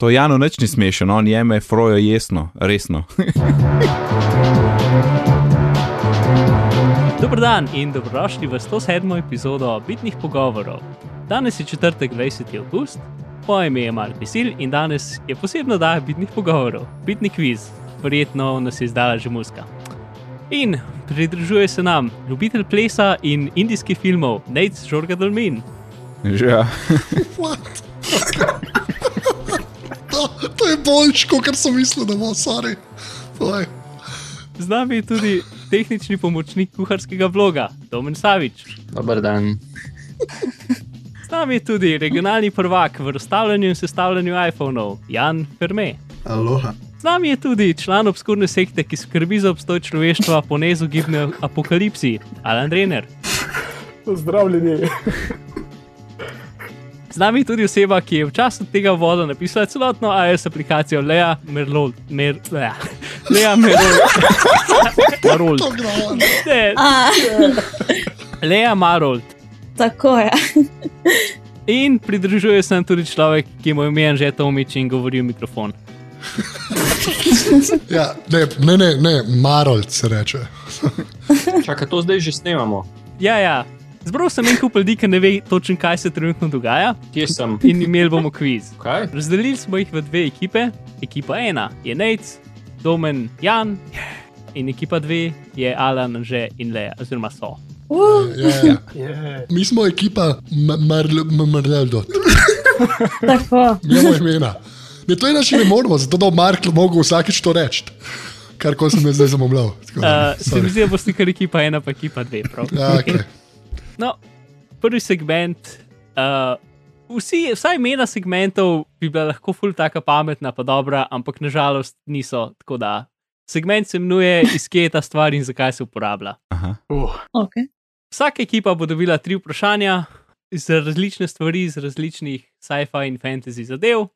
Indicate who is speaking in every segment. Speaker 1: To Janu nič ni smešno, on jeme frojo jesno, resno.
Speaker 2: Dobro dan in dobrodošli v 107. epizodo Bitnih pogovorov. Danes je četrtek, 20. august, moje ime je Mark Vesil in danes je posebno dan Bitnih pogovorov, Bitni kviz. Verjetno nas je izdala že muska. In pridružuje se nam ljubitelj plesa in indijskih filmov Nate Žorga Dolmin.
Speaker 1: Že,
Speaker 3: What? to, to je boljš, kot sem mislil, da bo, sorry. Povej.
Speaker 2: Z nami je tudi tehnični pomočnik kuharskega bloga Domen Savič.
Speaker 4: Dober dan.
Speaker 2: Z nami je tudi regionalni prvak v razstavljanju in sestavljanju iPhonov Jan Ferme.
Speaker 3: Aloha.
Speaker 2: Z nami je tudi član obskurne sekte, ki skrbi za obstoj človeštva po neizogibni apokalipsi, Alan Renner.
Speaker 5: Pozdravljeni.
Speaker 2: Z nami je tudi oseba, ki je v času tega voda napisala celotno iOS aplikacijo Lea Merlol. Mer, Lea. Lea Merlol. Marold.
Speaker 3: To grava.
Speaker 2: Ne,
Speaker 6: A,
Speaker 2: Lea Marold.
Speaker 6: tako je.
Speaker 2: In pridružuje se nam tudi človek, ki mu je imen že Tomič in govori v mikrofon.
Speaker 3: Ja, ne, ne, ne, ne Marold se reče.
Speaker 4: Čakaj, to zdaj že snemamo.
Speaker 2: Ja, ja. Zbral sem en kup ljudi, ki ne ve točno, kaj se trenutno dogaja,
Speaker 4: Kje sem?
Speaker 2: in imeli bomo kviz.
Speaker 4: Kaj?
Speaker 2: Razdelili smo jih v dve ekipe. Ekipa ena je Nate, Domen, Jan, in ekipa dve je Alan, že in le, oziroma so.
Speaker 6: Uh,
Speaker 3: Ja, ja.
Speaker 5: Yeah.
Speaker 3: Mi smo ekipa Marleldo,
Speaker 6: tako.
Speaker 3: imamo imena. Ne, to je naš ne moramo, zato da bo Mark mogel vsakeč to reči. Kar ko sem jaz zdaj zamomljal. Tako da,
Speaker 2: Uh, se mi
Speaker 3: sorry.
Speaker 2: zdi, da boste kar ekipa ena, pa ekipa dve. Prav.
Speaker 3: Ja, okay.
Speaker 2: No, prvi segment. Uh, vsi, vsa imena segmentov bi bila lahko ful tako pametna, pa dobra, ampak nažalost niso. Tako da segment se imenuje, iz kje je ta stvar in zakaj se uporablja.
Speaker 1: aha.
Speaker 5: Uh,
Speaker 6: Okay.
Speaker 2: Vsaka ekipa bo dobila tri vprašanja iz različne stvari, iz različnih sci-fi in fantasy zadev,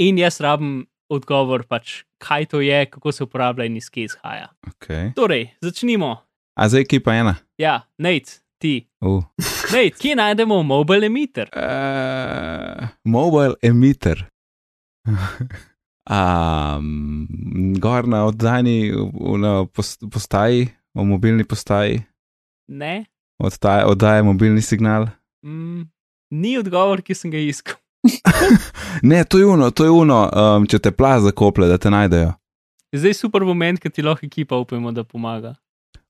Speaker 2: in jaz rabim odgovor, pač, kaj to je, kako se uporablja in iz kje izhaja.
Speaker 1: Okay.
Speaker 2: Torej, začnimo.
Speaker 1: A zdaj ekipa ena.
Speaker 2: Ja, Nate, ti.
Speaker 1: Uh.
Speaker 2: Nate, kje najdemo mobile emitter?
Speaker 1: Uh, mobile emitter. um, gor na oddani na pos- postaji, o mobilni postaji,
Speaker 2: Ne,
Speaker 1: oddaja, oddaja mobilni signal.
Speaker 2: mm, ni odgovor, ki sem ga iskal.
Speaker 1: Ne, to je uno, to je uno, um, če te plaz zakople, da te najdejo.
Speaker 2: Zdaj je super moment, ker ti lahko ekipa upajmo, da pomaga.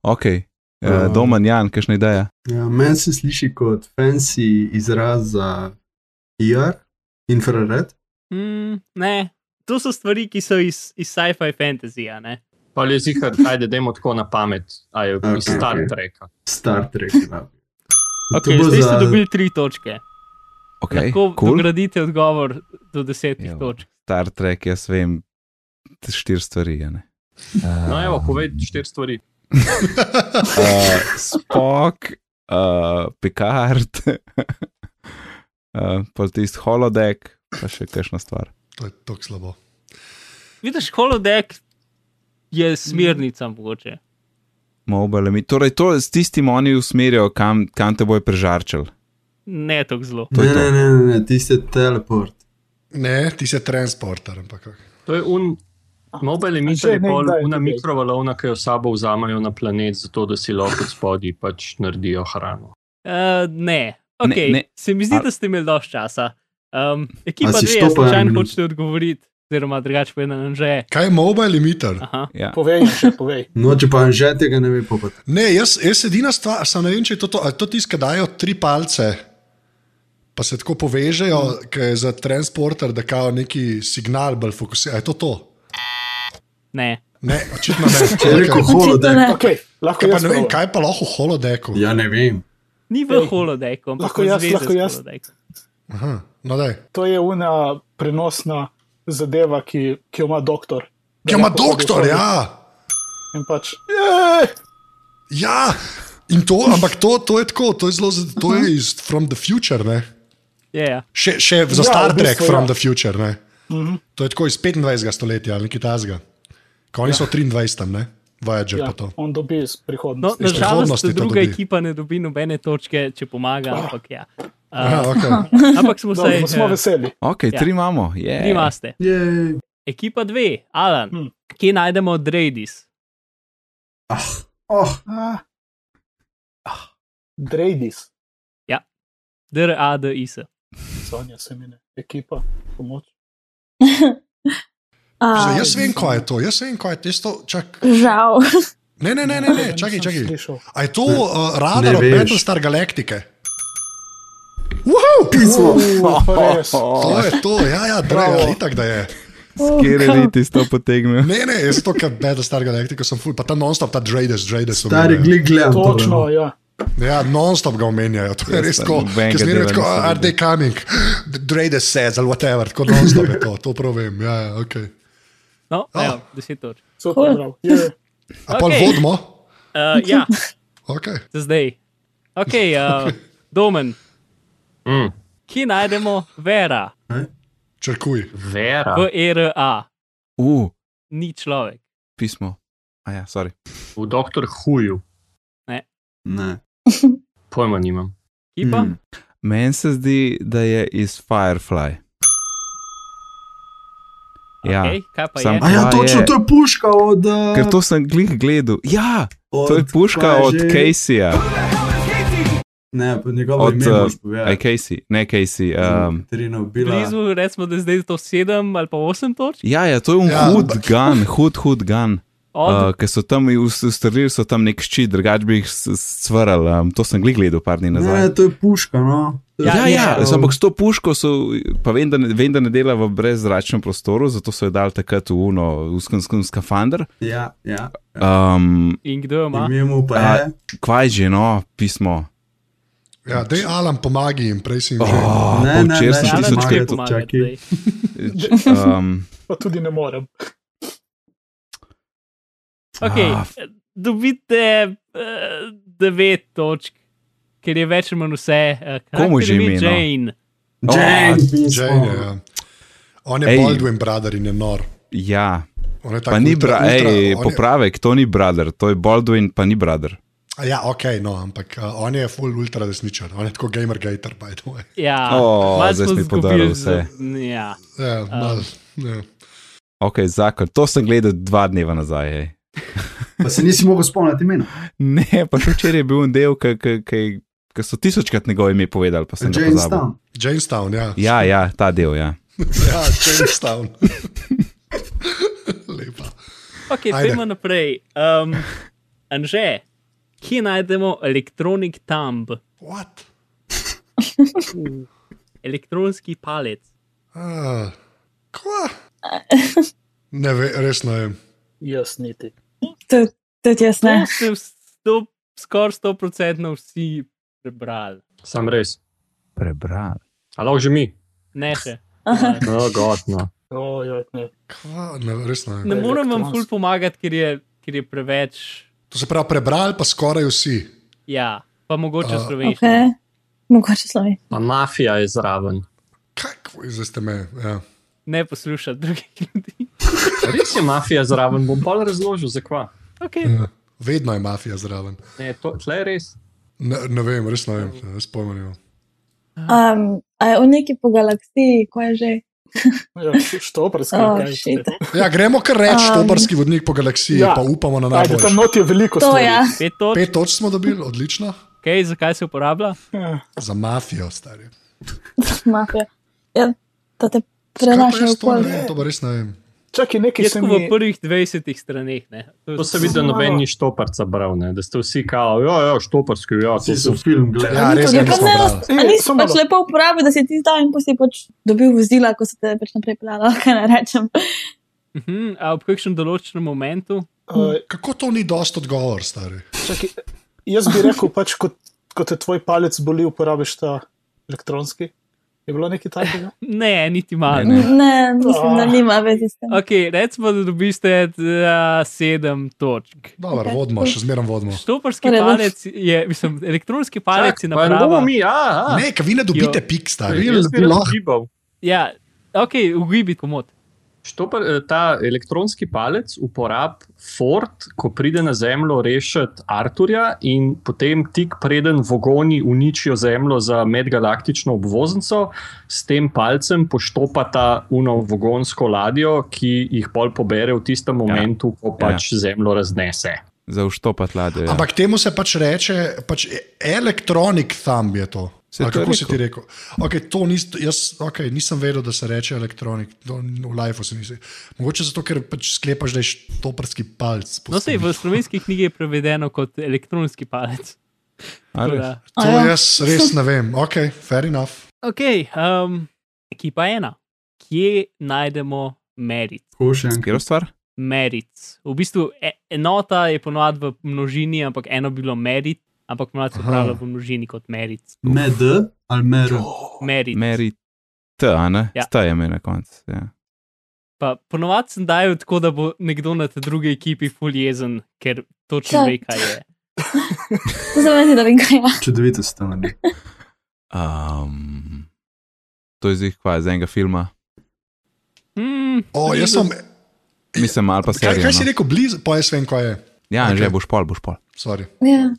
Speaker 1: Ok, uh,
Speaker 7: Ja.
Speaker 1: domen Jan, kakšna ideja?
Speaker 7: Ja, Meni se sliši kot fancy izraz za IR, infrared.
Speaker 2: Mm, ne, to so stvari, ki so iz, iz sci-fi fantasija, ne?
Speaker 4: Pa le zihar, ajde, dajmo tako na pamet, aj okay, iz
Speaker 7: Okej,
Speaker 4: Star
Speaker 7: okej.
Speaker 4: Treka.
Speaker 7: Star Trek. Ja.
Speaker 2: Okay, zdaj ste dobili tri točke.
Speaker 1: Okay,
Speaker 2: Lahko
Speaker 1: cool.
Speaker 2: gradite odgovor do desetih
Speaker 1: Evo.
Speaker 2: točk.
Speaker 1: Star Trek, jaz vem, te štiri stvari. a ne.
Speaker 4: No, evo, povej štiri stvari.
Speaker 1: Uh, Spock, uh, Picard, uh, pa tisti holodek, pa še kakšna stvar.
Speaker 3: To je tako slabo.
Speaker 2: Vidiš, holodek je smernica, mogoče.
Speaker 1: Mobile emitter. Torej, to s tistim oni usmerjajo, kam, kam te bojo prežarčili.
Speaker 2: Ne tako zelo.
Speaker 1: To
Speaker 7: Ne,
Speaker 1: je to.
Speaker 7: ne, ne, ne, ne, tisti je teleport.
Speaker 3: Ne, ti si transporter, ampak. ok.
Speaker 4: To je un. Mobile
Speaker 5: še
Speaker 4: emitter je
Speaker 5: nekdaj
Speaker 4: bolj una
Speaker 5: tukaj.
Speaker 4: mikrovalovna, ki jo s sabo vzamejo na planet, zato da si lahko od spodaj pač naredijo hrano.
Speaker 2: Uh, ne. Okay. ne,
Speaker 1: ne.
Speaker 2: ne. Se mi zdi,
Speaker 1: A-
Speaker 2: da ste imeli dosti časa. Um, ekipa
Speaker 7: A si
Speaker 2: dve, jaz
Speaker 7: stopa eno
Speaker 2: slučajno
Speaker 7: minuto?
Speaker 2: hočete odgovoriti, oziroma drugače povedano, že.
Speaker 3: Kaj je mobile emitter?
Speaker 2: Aha.
Speaker 1: Ja.
Speaker 5: povej, še povej.
Speaker 7: No, če pa že tega ne ve, pa pa
Speaker 3: Ne, jaz, jaz edina stvar, samo ne vem, če je to, to, ali to tiska, dajo tri palce, pa se tako povežejo,
Speaker 5: Mhm.
Speaker 3: mm. ker je za transporter, da kao neki signal bolj fokusira. A Je to to?
Speaker 2: Ne.
Speaker 3: Ne, očitno ne.
Speaker 7: če je rekel
Speaker 3: Okej.
Speaker 7: holodek.
Speaker 6: ne.
Speaker 5: Okay, lahko
Speaker 3: Kaj Ja, pa
Speaker 5: jaz
Speaker 3: ne vem,
Speaker 5: povem.
Speaker 3: kaj pa lahko v holodeku.
Speaker 7: Ja, ne vem.
Speaker 2: Ni v
Speaker 5: Ej,
Speaker 2: holodeku, ampak
Speaker 5: lahko
Speaker 2: v
Speaker 5: jaz,
Speaker 2: zvezi
Speaker 5: lahko
Speaker 2: s
Speaker 5: jaz.
Speaker 2: holodekom.
Speaker 3: Aha, no, daj.
Speaker 5: To je una prenosna zadeva, ki, ki jo ima doktor. Da
Speaker 3: Ja, ima
Speaker 5: lahko hodi
Speaker 3: doktor,
Speaker 5: okoli
Speaker 3: ja.
Speaker 5: In pač,
Speaker 3: ja. In to, ampak to, to je tako, to je zelo, z- to
Speaker 5: Mhm.
Speaker 3: je iz From the Future, ne?
Speaker 2: Ja, ja.
Speaker 3: Še, še za
Speaker 5: Ja,
Speaker 3: Star
Speaker 5: v
Speaker 3: Trek,
Speaker 5: bistvu,
Speaker 3: From
Speaker 5: ja. Mhm.
Speaker 3: the Future, ne? To je tako iz 25. stoletja ali nekaj tazga. Ko oni so 23, tam, ne? Voyager pa
Speaker 5: ja,
Speaker 3: to.
Speaker 5: on dobi iz
Speaker 2: No,
Speaker 5: prihodnosti.
Speaker 3: prihodnosti
Speaker 2: nažalost,
Speaker 3: to
Speaker 2: druga
Speaker 3: dobi.
Speaker 2: ekipa ne dobi nobene točke, če pomaga, ampak ja.
Speaker 3: Aha,
Speaker 2: Uh,
Speaker 3: okay.
Speaker 2: ampak smo
Speaker 5: Ah. Dobro,
Speaker 2: vsaj.
Speaker 5: pa smo
Speaker 2: eh,
Speaker 5: veseli.
Speaker 1: Ok,
Speaker 2: Ja.
Speaker 1: ja. tri imamo. Yeah.
Speaker 2: Tri imate.
Speaker 7: Jej.
Speaker 2: Ekipa dve, Alan,
Speaker 5: Hmm.
Speaker 2: hmm. kje najdemo Dreidis?
Speaker 7: Ah, oh,
Speaker 5: Ah. Drejdis,
Speaker 2: D-R-A-D-I-S.
Speaker 5: Sonja se mine, ekipa, pomoč.
Speaker 3: Zdaj, jaz vem, kaj je to, jaz vem, kaj je tisto. Čak...
Speaker 6: Žal.
Speaker 3: Ne, ne, ne, ne, ne, čakaj,
Speaker 5: Nisem
Speaker 3: čakaj.
Speaker 5: slišal.
Speaker 3: A je to uh, radar
Speaker 7: Ne
Speaker 3: od
Speaker 7: veš.
Speaker 3: Battlestar Galaktike? Wow,
Speaker 7: pismo.
Speaker 5: Pa
Speaker 3: oh,
Speaker 5: res.
Speaker 3: to je to, ja, ja, drago, itak da je.
Speaker 1: Kjer je li tisto potegnil?
Speaker 3: Ne, ne, jaz to, kar Battlestar Galactica sem ful, pa ta non-stop, ta Drades, Drades.
Speaker 7: Stari glik gledam. tole, no.
Speaker 5: Točno, ja.
Speaker 3: Ja, non-stop ga omenjajo, to je
Speaker 1: Jaz
Speaker 3: res
Speaker 1: pa
Speaker 3: tako.
Speaker 1: nobenega
Speaker 3: Ker zmeraj
Speaker 1: dela
Speaker 3: tako,
Speaker 1: nisem
Speaker 3: "Ah, are they coming? Drades says, ali whatever, tako non-stop je to, to pravim, ja, ja, ok.
Speaker 2: No,
Speaker 3: Oh.
Speaker 5: Ah.
Speaker 2: oh. evo, deset točk.
Speaker 5: Super, prav. Je,
Speaker 3: A pa
Speaker 2: Okej.
Speaker 3: vodimo?
Speaker 2: Uh, ja,
Speaker 3: Ok.
Speaker 2: za zdaj. Ok, uh, domen,
Speaker 4: Mm.
Speaker 2: kje najdemo Vera,
Speaker 3: Črkuj.
Speaker 4: Vera,
Speaker 2: V-R-A,
Speaker 1: U,
Speaker 2: ni človek.
Speaker 1: pismo. A ja, sorry.
Speaker 4: v doktor Huju,
Speaker 7: Ne.
Speaker 4: pojma nimam.
Speaker 2: Ekipa?
Speaker 3: Hmm,
Speaker 7: Mm.
Speaker 2: Mm.
Speaker 1: Hmm. Meni se zdi, da je iz Firefly. Ja,
Speaker 2: Okay, kaj pa
Speaker 1: Sam-
Speaker 2: je?
Speaker 7: A ja,
Speaker 1: Ja,
Speaker 7: točno,
Speaker 1: je.
Speaker 7: to je puška od. uh,
Speaker 1: ker to sem glih gledal. Ja, to je
Speaker 7: od- kaj
Speaker 1: puška
Speaker 7: je
Speaker 1: od
Speaker 7: že?
Speaker 1: Caseyja.
Speaker 7: Ne, pa njegovo
Speaker 1: Od,
Speaker 7: ime moraš
Speaker 1: eh, Aj,
Speaker 7: povedati.
Speaker 1: Casey, ne Casey. Um,
Speaker 7: Katarina ubila.
Speaker 2: Blizu, recimo, da je zdaj to sedem ali pa osem točk.
Speaker 1: ja, ja, to je un
Speaker 3: Ja,
Speaker 1: ja, hud
Speaker 3: ampak-
Speaker 1: gun, hud, hud gun.
Speaker 2: Od,
Speaker 3: Eh,
Speaker 1: Uh, ker so tam i- us- ustrelili, so tam nek ščit, drugač bi jih s- stvarali. Um, to sem glih gledal par dni
Speaker 7: Ne, ja,
Speaker 1: nazaj.
Speaker 7: ne, to je puška, no. To je
Speaker 1: Ja, ja,
Speaker 7: puška
Speaker 1: ja
Speaker 7: od-
Speaker 1: ampak s to puško so, pa vem da, ne, vem, da ne dela v brezračnem prostoru, zato so jo dali takrat v uno, v skenskem skafander.
Speaker 7: Ja, ja.
Speaker 1: Um,
Speaker 2: in kdo jo ima?
Speaker 7: Ime mu pa
Speaker 1: A-
Speaker 7: je.
Speaker 1: kvaj že, no, pismo.
Speaker 3: Ja, dej Alan pomagi jim, prej si jim že.
Speaker 1: Oh,
Speaker 7: Ne,
Speaker 1: pa
Speaker 7: ne,
Speaker 1: včeraj
Speaker 7: ne,
Speaker 1: sem
Speaker 7: ne,
Speaker 1: tisoč
Speaker 7: ne,
Speaker 1: krat.
Speaker 7: to čakaj.
Speaker 1: Um,
Speaker 5: pa tudi ne morem.
Speaker 2: Okay,
Speaker 1: Ah,
Speaker 2: eh, dobite uh, devet točk, ker je več ali manj vse. Uh,
Speaker 1: Komu že ime, no?
Speaker 2: Jane.
Speaker 7: Jane, pismo.
Speaker 3: Jane, ja. On je
Speaker 1: Ej.
Speaker 3: Baldwin brother in je nor.
Speaker 1: ja,
Speaker 3: On je
Speaker 1: pa
Speaker 3: tako
Speaker 1: ni
Speaker 3: ultra-
Speaker 1: bra,
Speaker 3: ultra-
Speaker 1: ej,
Speaker 3: on je-
Speaker 1: popravek, to ni brother, to je Baldwin, pa ni brother.
Speaker 3: A Ja, ok, no, ampak uh, on je full ultra desničar, on je tako gamer gator, by the way.
Speaker 2: Ja,
Speaker 1: O,
Speaker 2: malo
Speaker 1: zdaj si
Speaker 2: smo
Speaker 1: mi
Speaker 2: izgubili
Speaker 1: podaril
Speaker 2: za-
Speaker 1: vse.
Speaker 2: Ja.
Speaker 3: Ja, mal, ja.
Speaker 1: Ok, zakon, to sem gledal dva dneva nazaj. Ej.
Speaker 7: Pa se nisi mogel spomniti imena.
Speaker 1: Ne, pa še včeraj je bil en del, ki so tisočkrat njegovo ime povedali, pa sem ga
Speaker 7: Jane
Speaker 1: pozabil.
Speaker 7: Stan.
Speaker 3: Jamestown, ja.
Speaker 1: Ja, ja, ta del, ja.
Speaker 3: ja Jamestown. Lepa.
Speaker 2: Ok,
Speaker 3: Ajde.
Speaker 2: pojmo naprej. Um, Anže, kje najdemo elektronik thumb,
Speaker 3: What?
Speaker 2: elektronski palec?
Speaker 3: Ah, kva? Ne, ve, res ne vem.
Speaker 5: Jaz niti.
Speaker 6: Tudi tudi jaz
Speaker 2: To
Speaker 6: ne.
Speaker 2: ste vsto- skoraj 100% vsi prebrali.
Speaker 4: Sam res.
Speaker 1: Prebral.
Speaker 4: Ali lahko že mi?
Speaker 2: Ne, še.
Speaker 6: Aha.
Speaker 4: No, gotno.
Speaker 5: Ojoj, ne.
Speaker 3: Kva? Ne, res ne
Speaker 2: Ne
Speaker 3: vem.
Speaker 2: morem vam
Speaker 5: Elektronski.
Speaker 2: ful pomagati, ker je, ker je preveč.
Speaker 3: To se pravi, prebrali pa skoraj vsi.
Speaker 2: Ja, pa mogoče
Speaker 3: A,
Speaker 2: slovenščina.
Speaker 6: Okay. Mogoče slovi.
Speaker 4: Pa mafija je zraven.
Speaker 3: Kako je zdaj ste me? Ja.
Speaker 2: Ne poslušati drugih ljudi.
Speaker 4: Res je mafija zraven, bom bolj razložil, zakaj.
Speaker 2: Okay.
Speaker 3: Vedno je mafija zraven.
Speaker 4: Ne, to tle je res.
Speaker 3: Ne, ne vem, res ne vem, jaz pojmenil.
Speaker 6: Um, a je v neki po galaksiji, ko je že.
Speaker 5: Ja, što
Speaker 6: Oh,
Speaker 5: preskakaj.
Speaker 6: shit.
Speaker 3: Ja, gremo kar reči,
Speaker 6: Um,
Speaker 3: tobarski vodnik po galaksiji, ja.
Speaker 5: ja.
Speaker 3: pa upamo na
Speaker 5: Ajde, tam
Speaker 3: najboljše.
Speaker 5: not je veliko
Speaker 6: To
Speaker 5: stvari.
Speaker 6: ja.
Speaker 2: Pet točk,
Speaker 3: Pet točk smo dobili, odlično.
Speaker 2: okay, zakaj se uporablja?
Speaker 5: Ja.
Speaker 3: Za mafijo, stari.
Speaker 6: Mafija. Ja, da te
Speaker 3: Kaj pa
Speaker 6: prenašajo
Speaker 3: jaz
Speaker 6: v
Speaker 3: to ne
Speaker 6: polje.
Speaker 3: vem, to pa res ne vem.
Speaker 5: Čakaj, nekaj
Speaker 2: Je
Speaker 5: se
Speaker 2: tako v
Speaker 5: mi...
Speaker 2: prvih 20 straneh. ne.
Speaker 4: To se vidi, da noben ni štoparca bral, ne? da ste vsi kao, ja, ja, štoparski, ja, to
Speaker 7: Vsi so
Speaker 4: so.
Speaker 7: film gledali.
Speaker 3: Ja,
Speaker 6: Ni
Speaker 3: res
Speaker 6: to
Speaker 3: ga
Speaker 6: nekaj
Speaker 3: nismo
Speaker 6: ne-
Speaker 3: brali.
Speaker 6: A
Speaker 5: Ej,
Speaker 6: nisi
Speaker 5: samo
Speaker 6: pač
Speaker 5: malo.
Speaker 6: lepo uporabil, da si ti zdal in pa si pač dobil vozila, ko se te je pač naprej pelala, kaj ne rečem.
Speaker 2: Uh -huh, a ob kakšnem določenem momentu
Speaker 5: Uh,
Speaker 3: Kako to ni dost odgovor, stari?
Speaker 5: čakaj, jaz bi rekel, pač, ko, ko te tvoj palec boli, uporabiš ta elektronski. Je bilo nekaj takega?
Speaker 2: Ne, niti malo.
Speaker 1: Ne,
Speaker 6: Ne, mislim, da
Speaker 5: Ah.
Speaker 6: nima veze s tem.
Speaker 2: Ok, recimo, da dobiste uh, sedem točk.
Speaker 3: Dobro,
Speaker 6: Ok.
Speaker 3: vodimo, še zmeraj vodimo.
Speaker 2: Štoparski
Speaker 6: Torej, boš-
Speaker 2: palec je, mislim, elektronski palec je
Speaker 4: pa ne bomo
Speaker 2: naprava.
Speaker 4: mi, ja, ja.
Speaker 3: Ne, ker vi ne dobite
Speaker 2: Jo.
Speaker 3: pik, stari.
Speaker 4: Jaz bi
Speaker 7: bilo.
Speaker 4: razgibal.
Speaker 2: Ja, ok, ugibi komod.
Speaker 4: Štopar, eh, ta elektronski palec uporab Ford, ko pride na Zemljo rešiti Arturja in potem tik preden vogoni uničijo Zemljo za medgalaktično obvoznico, s tem palcem poštopata uno vogonsko ladjo, ki jih pol pobere v
Speaker 7: Ja.
Speaker 4: tistem momentu, ko pač Zemljo raznese.
Speaker 1: Za uštopat ladjo. Ja.
Speaker 3: Ampak temu se pač reče, pač elektronik thumb je to.
Speaker 1: Se
Speaker 3: Ali
Speaker 1: to je
Speaker 3: kako si
Speaker 1: rekel?
Speaker 3: ti rekel? Okay, to nis, jaz okay, nisem vedel, da se reče elektronik, to, v Life se nisi. Mogoče zato, ker pač sklepaš, da je štoprski palc.
Speaker 2: No, sej v slovenski knjigi je prevedeno kot elektronski palec.
Speaker 1: A res?
Speaker 4: eh,
Speaker 2: Tako da-
Speaker 3: To
Speaker 6: Aja.
Speaker 3: jaz res ne vem, ok, fair enough.
Speaker 2: Ok, um, ekipa ena. Kje najdemo merit?
Speaker 7: Košen,
Speaker 1: Katero stvar?
Speaker 2: merit. V bistvu e- enota je ponovadi v množini, ampak eno bilo merit, ampak ponovadi se
Speaker 3: Aha.
Speaker 2: pravi v množini kot merit.
Speaker 7: med ali mer.
Speaker 2: Merit.
Speaker 1: Meri T, a ne?
Speaker 2: Ja.
Speaker 1: Ja. T je mi na koncu. Ja.
Speaker 2: Pa ponovadi sem dajal tako, da bo nekdo na te druge ekipi fuljezen, ker točno
Speaker 6: Čak.
Speaker 2: ve, kaj je.
Speaker 6: To se meni, da vem, kaj je.
Speaker 7: Čudovito stanje.
Speaker 1: Um, to je zdaj kva iz enega filma.
Speaker 2: Hmm,
Speaker 3: O, jaz sem,
Speaker 1: Mislim, ali pa
Speaker 3: kaj,
Speaker 1: serijo.
Speaker 3: kaj si
Speaker 1: no.
Speaker 3: rekel, blizu, pa jaz vem, kaj je.
Speaker 1: Ja,
Speaker 3: Okej.
Speaker 1: okay. že boš pol, boš pol.
Speaker 3: Sorry.
Speaker 6: Ja.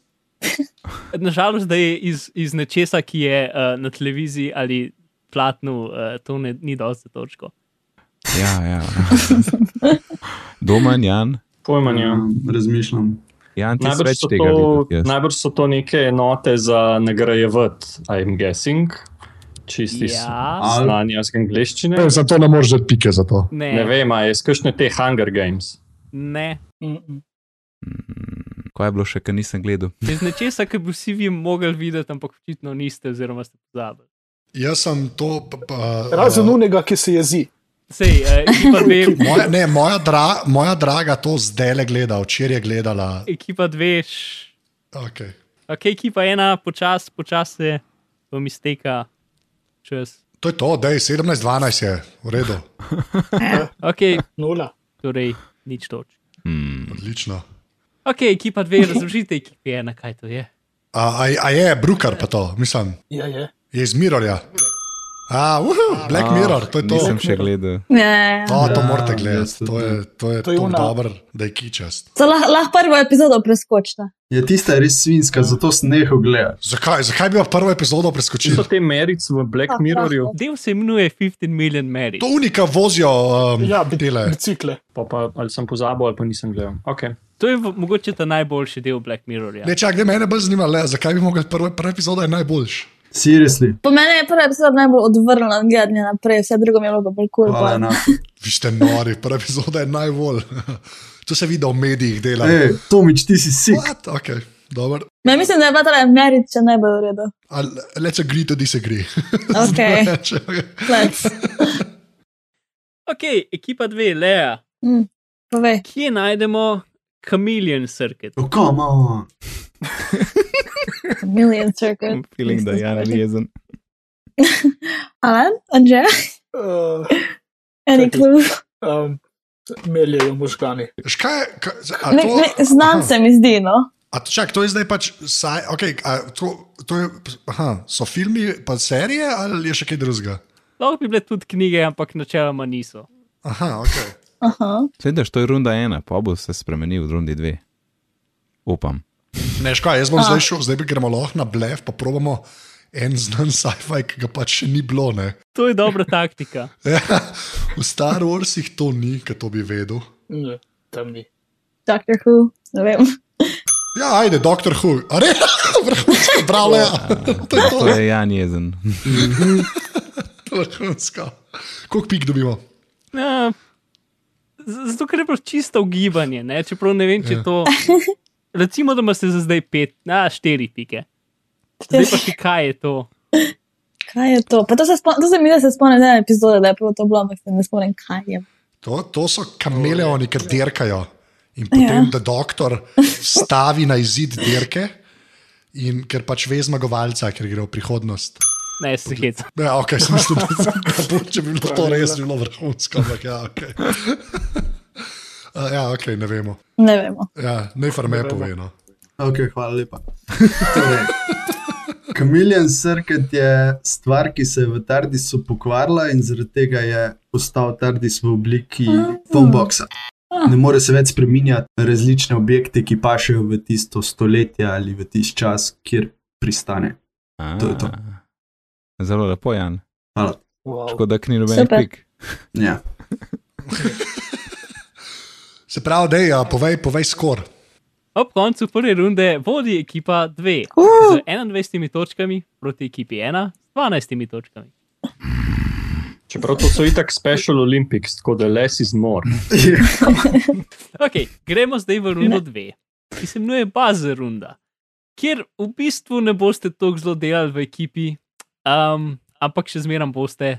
Speaker 2: Nažalost, da je iz, iz nečesa, ki je uh, na televiziji ali platnu, uh, to ne, ni dosti za točko.
Speaker 1: Ja, ja. Doman, Jan.
Speaker 4: Pojma, ne.
Speaker 7: Ja, razmišljam.
Speaker 1: Jan, ti si
Speaker 4: Najbrž
Speaker 1: več
Speaker 4: so,
Speaker 1: tega videl.
Speaker 4: to,
Speaker 1: kot jaz.
Speaker 4: najbrž so to neke enote za nagrajevati, I'm guessing, čisti ja.
Speaker 2: Ja,
Speaker 7: Ali-
Speaker 4: znanja z angliščine.
Speaker 3: Zato ne moreš dati pike za to.
Speaker 2: ne,
Speaker 4: Ne vem, a je izkušnja te Hunger Games.
Speaker 2: ne.
Speaker 5: Mm, mm.
Speaker 1: Mm, Kaj je bilo še, kar nisem gledal?
Speaker 2: Iz nečesa, ki bi vsi vi mogli videti, ampak očitno niste, oziroma ste pozabili.
Speaker 3: Jaz sem to. Pa, pa,
Speaker 5: Razen
Speaker 3: eh,
Speaker 5: unega, ki se jezi.
Speaker 2: Sej, eh, ekipa dve,
Speaker 3: Moja, ne, moja, dra, moja draga to zdaj le gleda, včeraj je gledala.
Speaker 2: ekipa dve, š...
Speaker 3: Okay.
Speaker 2: ok, ekipa ena, počasi, počasi se vam izteka čas.
Speaker 3: To je to, da je 17-12 je, v redu,
Speaker 2: Ok,
Speaker 5: Nula.
Speaker 2: torej nič toč.
Speaker 1: Hmm.
Speaker 3: odlično.
Speaker 2: Ok, ekipa dve, razložite ekipi ena, kaj to je.
Speaker 3: A, a, a je Brukar pa to, mislim,
Speaker 5: Ja, je.
Speaker 3: je iz Mirrorja. A, uhu, Black Mirror, to je to.
Speaker 1: Nisem še gledal.
Speaker 6: Ja, ja, ja.
Speaker 3: To, to
Speaker 7: Ja,
Speaker 3: morate
Speaker 7: jaz
Speaker 3: gledati,
Speaker 7: tudi
Speaker 3: to je, to je
Speaker 5: To je
Speaker 3: tako
Speaker 5: ona.
Speaker 3: dobro, da je kičast.
Speaker 6: So lah- lahko prvo epizodo preskočila.
Speaker 7: Ja, tista je res svinska, zato sem nehal gledati.
Speaker 3: Zakaj, zakaj bi pa prvo epizodo
Speaker 4: Če so
Speaker 3: preskočili?
Speaker 4: te merice v Black Mirrorju,
Speaker 2: Del se imenuje 15 Million Mary.
Speaker 3: To unika vozijo um,
Speaker 5: Ja,
Speaker 3: ja,
Speaker 5: bi,
Speaker 3: tele.
Speaker 5: bicikle.
Speaker 4: pa, pa ali sem pozabil, ali pa nisem gledal. Okay.
Speaker 2: To je v- mogoče ta najboljši del Black Mirrorja.
Speaker 3: Ne, čak, ne, mene bolj zanima, le, zakaj bi mogli prvo, prvo epizodo je najboljši.
Speaker 7: Seriously,
Speaker 6: Po meni je prva epizoda najbolj odvrnila od gledanja naprej, vse drugo mi je bilo pa bolj kul.
Speaker 7: hvala no.
Speaker 6: Cool,
Speaker 7: na.
Speaker 3: Vi ste nori, prva epizoda je najbolj. to se vidi, da v medijih delajo.
Speaker 7: Ej, Tomič, E, ti si sik.
Speaker 3: What? Okay, dobro.
Speaker 6: ja, mislim, da je bila ta Američa najbolj v redu.
Speaker 3: Ali let's agree to disagree.
Speaker 6: Ok, let's.
Speaker 2: Ok, ekipa dve, Lea,
Speaker 6: Mm, povej.
Speaker 2: kje najdemo Chameleon Circuit?
Speaker 7: Oh, come on.
Speaker 6: Million circuit.
Speaker 1: I'm feeling, da je Jan jezen.
Speaker 6: Alan, Anže,
Speaker 5: Uh,
Speaker 6: any
Speaker 5: Čakaj.
Speaker 6: clue?
Speaker 5: um, meljejo možgani.
Speaker 3: Škaj, ka, a
Speaker 6: Ne,
Speaker 3: to,
Speaker 6: ne, znam
Speaker 3: aha.
Speaker 6: se mi zdi, no.
Speaker 3: A to, čak, to je zdaj pač, saj, okay, a, to, to je, aha, so filmi, pa serije ali je še kaj drugega?
Speaker 2: Lahko bi bile tudi knjige, ampak načeloma niso.
Speaker 3: Aha, ok.
Speaker 6: Aha.
Speaker 1: Sedaj, to je runda ena, pa bo se spremenil v rundi dve. Upam.
Speaker 3: Ne, škaj, jaz bom
Speaker 6: A.
Speaker 3: zdaj šel, zdaj bi gremo lahko na blef, pa probamo en znan sci-fi, ki ga pač še ni bilo. Ne?
Speaker 2: To je dobra taktika.
Speaker 3: Ja, v Star Warsih to ni, ki to bi vedel.
Speaker 5: Ne, tam ni.
Speaker 6: Doctor Who, ne vem.
Speaker 3: Ja, ajde, doktor Hu, ali vrhunsko, bravo, ja. to je to,
Speaker 1: To je Jan jezen.
Speaker 3: vrhunsko. Koliko pik dobimo?
Speaker 2: Ja, z- zato, ker je bilo čisto ugibanje, ne? čeprav ne vem, če je to. Recimo, da imate za zdaj pet, na štiri pike. Zdaj pa še kaj je to.
Speaker 6: Kaj je to? Pa to se, spom, to se mi zdi, da se spomnim ene epizode, da je prav to bilo, ampak se ne spomnim, kaj je.
Speaker 3: To, to so kameleoni, ki dirkajo. In potem, ja. da doktor stavi na izid dirke, in ker pač ve zmagovalca, ker gre v prihodnost.
Speaker 2: Ne, se hec.
Speaker 3: Ja, ok, sem mislil, da sem kapul, če bi bilo to res, bi bilo vrhunsko, ampak ja, ok. Uh, ja, ok, ne vemo.
Speaker 6: Ne vemo.
Speaker 3: Ja, ne farme pove. No.
Speaker 7: Ok, hvala lepa. Torej, Chameleon Circuit je stvar, ki se je v Tardisu pokvarila in zaradi tega je postal Tardis v obliki phoneboxa. Ne more se več spreminjati na različne objekte, ki pašejo v tisto stoletje ali v tisti čas, kjer pristane.
Speaker 1: A,
Speaker 7: To je to.
Speaker 1: Zelo lepo, Jan.
Speaker 7: Hvala.
Speaker 5: Wow.
Speaker 1: Škoda, da ni noben
Speaker 6: Super.
Speaker 1: pik.
Speaker 7: Ja.
Speaker 3: Se pravi, da je, povej, povej skor.
Speaker 2: Ob koncu prve runde vodi ekipa 2 z 21 točkami proti ekipi 1 z 12 točkami.
Speaker 4: Čeprav to so itak Special Olympics, tako da les iz mor.
Speaker 2: Okay, gremo zdaj v rundo 2, ki se imenuje Buzzer runda, kjer v bistvu ne boste tako zelo delali v ekipi, um, ampak še zmeraj boste,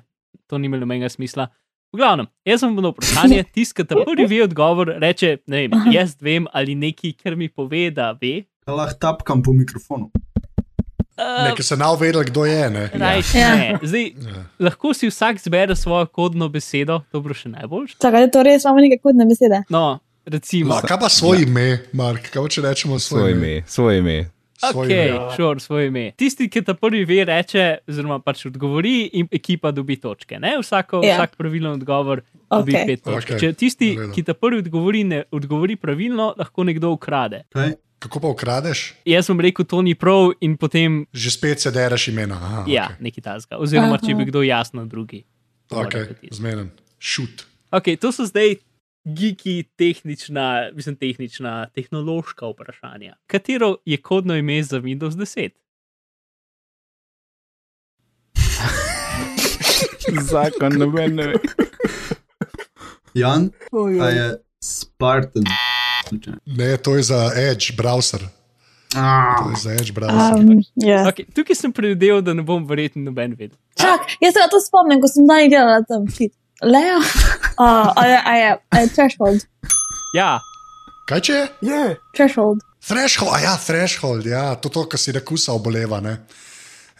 Speaker 2: to ni imelo nobenega smisla. V glavnem, jaz vam bom vprašanje, tiskate prvi ve odgovor, reče, ne vem, jaz vem ali neki, ker mi pove, da ve.
Speaker 7: Lahko tapkam po mikrofonu.
Speaker 2: Uh,
Speaker 3: Nekaj se nav vedel, kdo je. Ne?
Speaker 2: Rajš,
Speaker 6: Ja.
Speaker 2: ne. Zdaj, lahko si vsak zbere svojo kodno besedo, to bo še najboljš.
Speaker 6: Čakaj, je to res imamo neke kudne besede.
Speaker 2: No, recimo,
Speaker 3: Ma, kaj pa svoje ime, Mark? Kaj pa če rečemo
Speaker 1: Svoje ime, svoje ime.
Speaker 3: Svoje
Speaker 2: okay,
Speaker 3: ime.
Speaker 2: ja. sure, svoje ime. Tisti, ki ta prvi ve, reče, oziroma pač odgovori, in ekipa dobi točke. Ne? Vsako,
Speaker 6: Ja.
Speaker 2: yeah. Vsak pravilen odgovor dobi
Speaker 6: Okej.
Speaker 2: okay. pet točk.
Speaker 3: Okej,
Speaker 2: Okay. Če tisti,
Speaker 3: v redu.
Speaker 2: ki ta prvi odgovori, ne odgovori pravilno, lahko nekdo ukrade.
Speaker 7: Kaj?
Speaker 3: Kako pa ukradeš?
Speaker 2: Jaz sem rekel, to ni prav, in potem,
Speaker 3: Že spet se deraš imena. Aha,
Speaker 2: okay. ja, nekaj tasga. Oziroma, če bi kdo jasno drugi.
Speaker 3: okay.
Speaker 2: Mora
Speaker 3: okay.
Speaker 2: biti.
Speaker 3: zmeden. Šut.
Speaker 2: Okay, to so zdaj geeki, tehnična, mislim, tehnična, tehnološka vprašanja. Katero je kodno ime za Windows 10?
Speaker 1: Zakon noben ne ve.
Speaker 7: Jan,
Speaker 5: Oh, ja.
Speaker 7: a je Spartan. Slučajno.
Speaker 3: Ne, to je za Edge browser. To
Speaker 7: Ah,
Speaker 3: je za Edge browser.
Speaker 6: Um, yes.
Speaker 2: Okay, tukaj sem predvideval, da ne bom verjetno noben vedel.
Speaker 6: Čak, jaz se na to spomnim, ko sem dan delala tam. Shit. Leo, uh, a je, a je, a je threshold.
Speaker 2: Ja,
Speaker 3: Kaj če je?
Speaker 5: Je,
Speaker 6: Threshold.
Speaker 3: Threshold, a ja, threshold, ja, to, to kar si rekusa oboleva. Ne?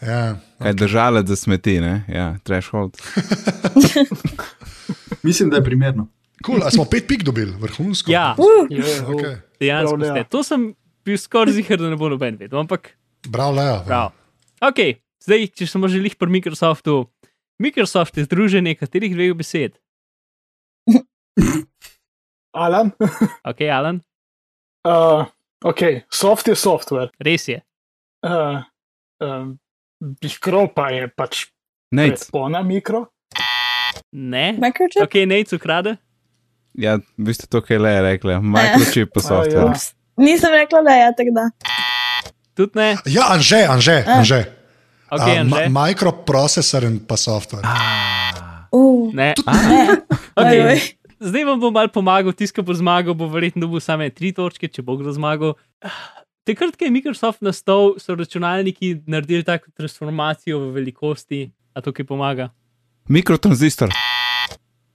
Speaker 3: Ja.
Speaker 1: Kaj držala za smeti, ne? Ja, threshold.
Speaker 7: mislim, da je primerno.
Speaker 3: Cool, a smo pet pik dobili, vrhunsko.
Speaker 2: ja
Speaker 5: je.
Speaker 3: Okay.
Speaker 2: dejansko
Speaker 5: Prav, Lea.
Speaker 2: ste. To sem bil skoraj zihar, da ne bo noben vedel, ampak
Speaker 3: Bravo, Leo.
Speaker 2: prav. Ok, zdaj, če smo že lih pri Microsoftu. Microsoft je združenje katerih dveh besed.
Speaker 5: Alan.
Speaker 2: Ok, Alan,
Speaker 5: Uh, ok, soft je software.
Speaker 2: res je.
Speaker 5: Uh, um, Mikro pa je pač
Speaker 1: Nec,
Speaker 5: predpona mikro.
Speaker 2: Ne.
Speaker 6: Microchip?
Speaker 2: Ok, Nate ukrade.
Speaker 1: ja, vi ste to, kaj le je rekla. Microchip po
Speaker 5: A,
Speaker 1: softveru.
Speaker 5: ja.
Speaker 6: Nisem rekla, da je tako da.
Speaker 2: Tudi ne.
Speaker 3: Ja, Anže, Anže. Anže.
Speaker 2: Ok,
Speaker 3: A, ma-
Speaker 2: Anže.
Speaker 3: Mikroprocesor in pa software.
Speaker 6: Uh,
Speaker 2: Ne.
Speaker 6: oj, oj.
Speaker 2: Okay. Zdaj vam bom malo pomagal, tiskal bo zmagal, bo verjetno dobil same tri točke, če bo kdo zmagal. Takrat, ko je Microsoft nastal, so računalniki naredili tako transformacijo v velikosti, a to, ki pomaga.
Speaker 1: Mikrotransistor.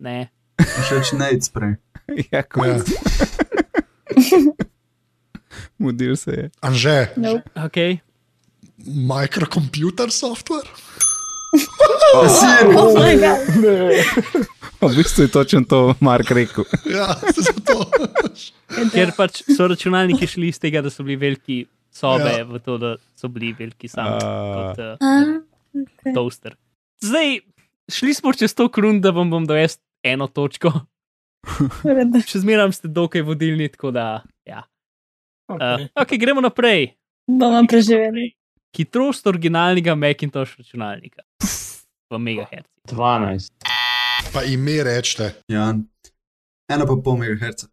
Speaker 2: Ne.
Speaker 7: Všeč Nate sprej.
Speaker 1: Ja, kot.
Speaker 3: Ja.
Speaker 1: Mudil se je.
Speaker 3: Anže,
Speaker 6: Nope.
Speaker 2: Okay.
Speaker 3: mikrokomputer software?
Speaker 6: Oh my god.
Speaker 5: Ne,
Speaker 1: V bistvu je točno to Mark rekel.
Speaker 3: Ja, zato.
Speaker 2: Ker
Speaker 6: Ja.
Speaker 2: pač so računalniki šli iz tega, da so bili veliki sobe,
Speaker 3: Ja.
Speaker 2: ja. v to, da so bili veliki sami
Speaker 1: A.
Speaker 2: kot uh,
Speaker 6: Ah,
Speaker 2: toaster. Zdaj, šli smo čez to krun, da vam bom dojel eno točko.
Speaker 6: v redu.
Speaker 2: Še zmeraj ste dokaj vodilni, tako da. Ja. Uh,
Speaker 5: okay.
Speaker 2: ok, gremo naprej.
Speaker 6: Bomo preživeli.
Speaker 2: hitrost originalnega Macintosh računalnika v megahertzih.
Speaker 4: 12.
Speaker 3: Pa ime rečete.
Speaker 7: Jan. Ena pa pol megaherca.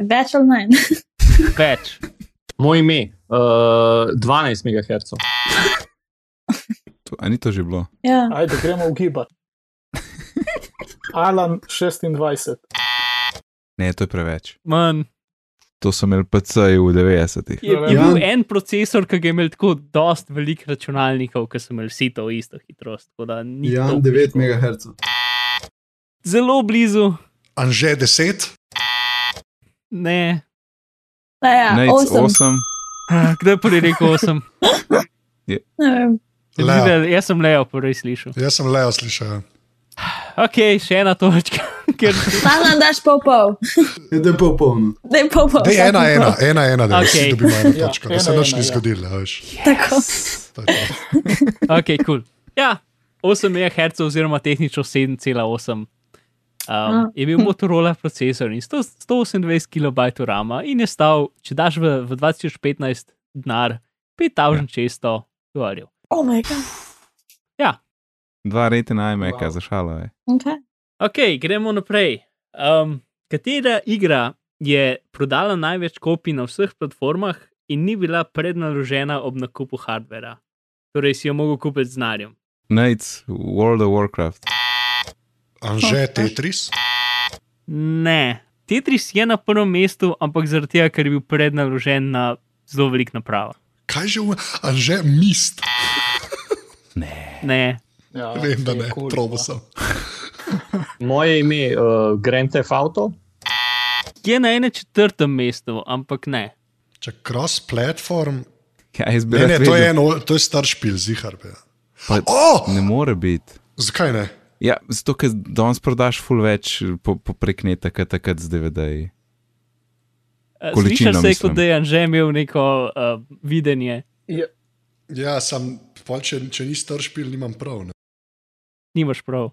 Speaker 6: Več ali manj.
Speaker 2: Več.
Speaker 4: Moj ime, uh, 12 MHz.
Speaker 1: To, a ni to že bilo?
Speaker 6: Ja.
Speaker 5: Ajde, gremo ugibati. Alan 26.
Speaker 1: Ne, to je preveč.
Speaker 2: Man,
Speaker 1: To so imeli PC-ji v 90-ih.
Speaker 2: je, je bil en procesor, ki ga je imel tako dost velik računalnikov, ki so imeli vsi to isto hitrost. tako da ni to
Speaker 7: Jan 9
Speaker 2: težko.
Speaker 7: megaherca.
Speaker 2: Zelo blizu,
Speaker 3: Anže 10,
Speaker 2: ne.
Speaker 6: A ja,
Speaker 1: Nec
Speaker 6: osem.
Speaker 1: 8,
Speaker 2: Ah, Kdo je prvi rekel 8?
Speaker 6: Ne vem.
Speaker 3: Leo.
Speaker 2: Jaz sem Leo prvi slišal.
Speaker 3: jaz sem Leo slišal.
Speaker 2: Ok, še ena točka. Ker
Speaker 6: Pa nam daš pol pol.
Speaker 7: Da je popolno.
Speaker 6: Da je pol pol.
Speaker 3: Dej
Speaker 6: vsak
Speaker 3: ena,
Speaker 6: pol.
Speaker 3: ena, ena, ena, da
Speaker 2: Okej.
Speaker 3: okay. dobimo eno
Speaker 5: Ja,
Speaker 3: točko, da
Speaker 5: ena,
Speaker 3: se noč
Speaker 5: ena,
Speaker 3: ni
Speaker 5: ja.
Speaker 3: zgodilo. a veš.
Speaker 6: Tako.
Speaker 3: To je to.
Speaker 2: Ok, kul. Cool. Ja, 8 MHz oziroma tehnično 7,8. Um,
Speaker 6: Ah.
Speaker 2: je bil Motorola procesor in 100, 128 KB rama in je stal, če daš v, v 2015 denar, 5600 dolarjev.
Speaker 6: Oh my god.
Speaker 1: Dva rete na iMac, wow.
Speaker 5: Wow.
Speaker 1: zašalo je.
Speaker 6: Okay.
Speaker 2: Ok, gremo naprej. Um, katera igra je prodala največ kopij na vseh platformah in ni bila prednaložena ob nakupu hardvera? Torej si jo mogel kupiti z narjem.
Speaker 1: Nate, World of Warcraft.
Speaker 3: Anže Tetris,
Speaker 2: Ne. Tetris je na prvem mestu, ampak zaradi tega, ker je bil prednaložen na zelo velik napravo.
Speaker 3: kaj že, v- Anže Mist,
Speaker 2: Ne,
Speaker 5: Ja,
Speaker 3: vem, da ne,
Speaker 5: cool,
Speaker 3: probo
Speaker 5: ja.
Speaker 3: sem.
Speaker 4: Moje ime je uh, Grand Theft Auto,
Speaker 2: je na enem četrtem mestu, ampak ne.
Speaker 3: Če cross-platform,
Speaker 1: Ja, jaz bi
Speaker 3: ne, ne,
Speaker 1: rad
Speaker 3: to je,
Speaker 1: vedel.
Speaker 3: en, ol- to je star špil, zihar. be.
Speaker 1: Pa-
Speaker 3: O!
Speaker 1: Ne more biti.
Speaker 3: Zakaj ne?
Speaker 1: Ja, zato, ker danes prodaš ful več po, po prekneta, kot takrat z DVD-ji.
Speaker 2: Eh,
Speaker 1: Količino,
Speaker 2: Slišal se je,
Speaker 1: mislim.
Speaker 2: kot da je Anže imel neko uh, videnje,
Speaker 5: Je,
Speaker 3: Ja, sam, pol, če, če ni star špil, nimam prav. Ne?
Speaker 2: nimaš prav.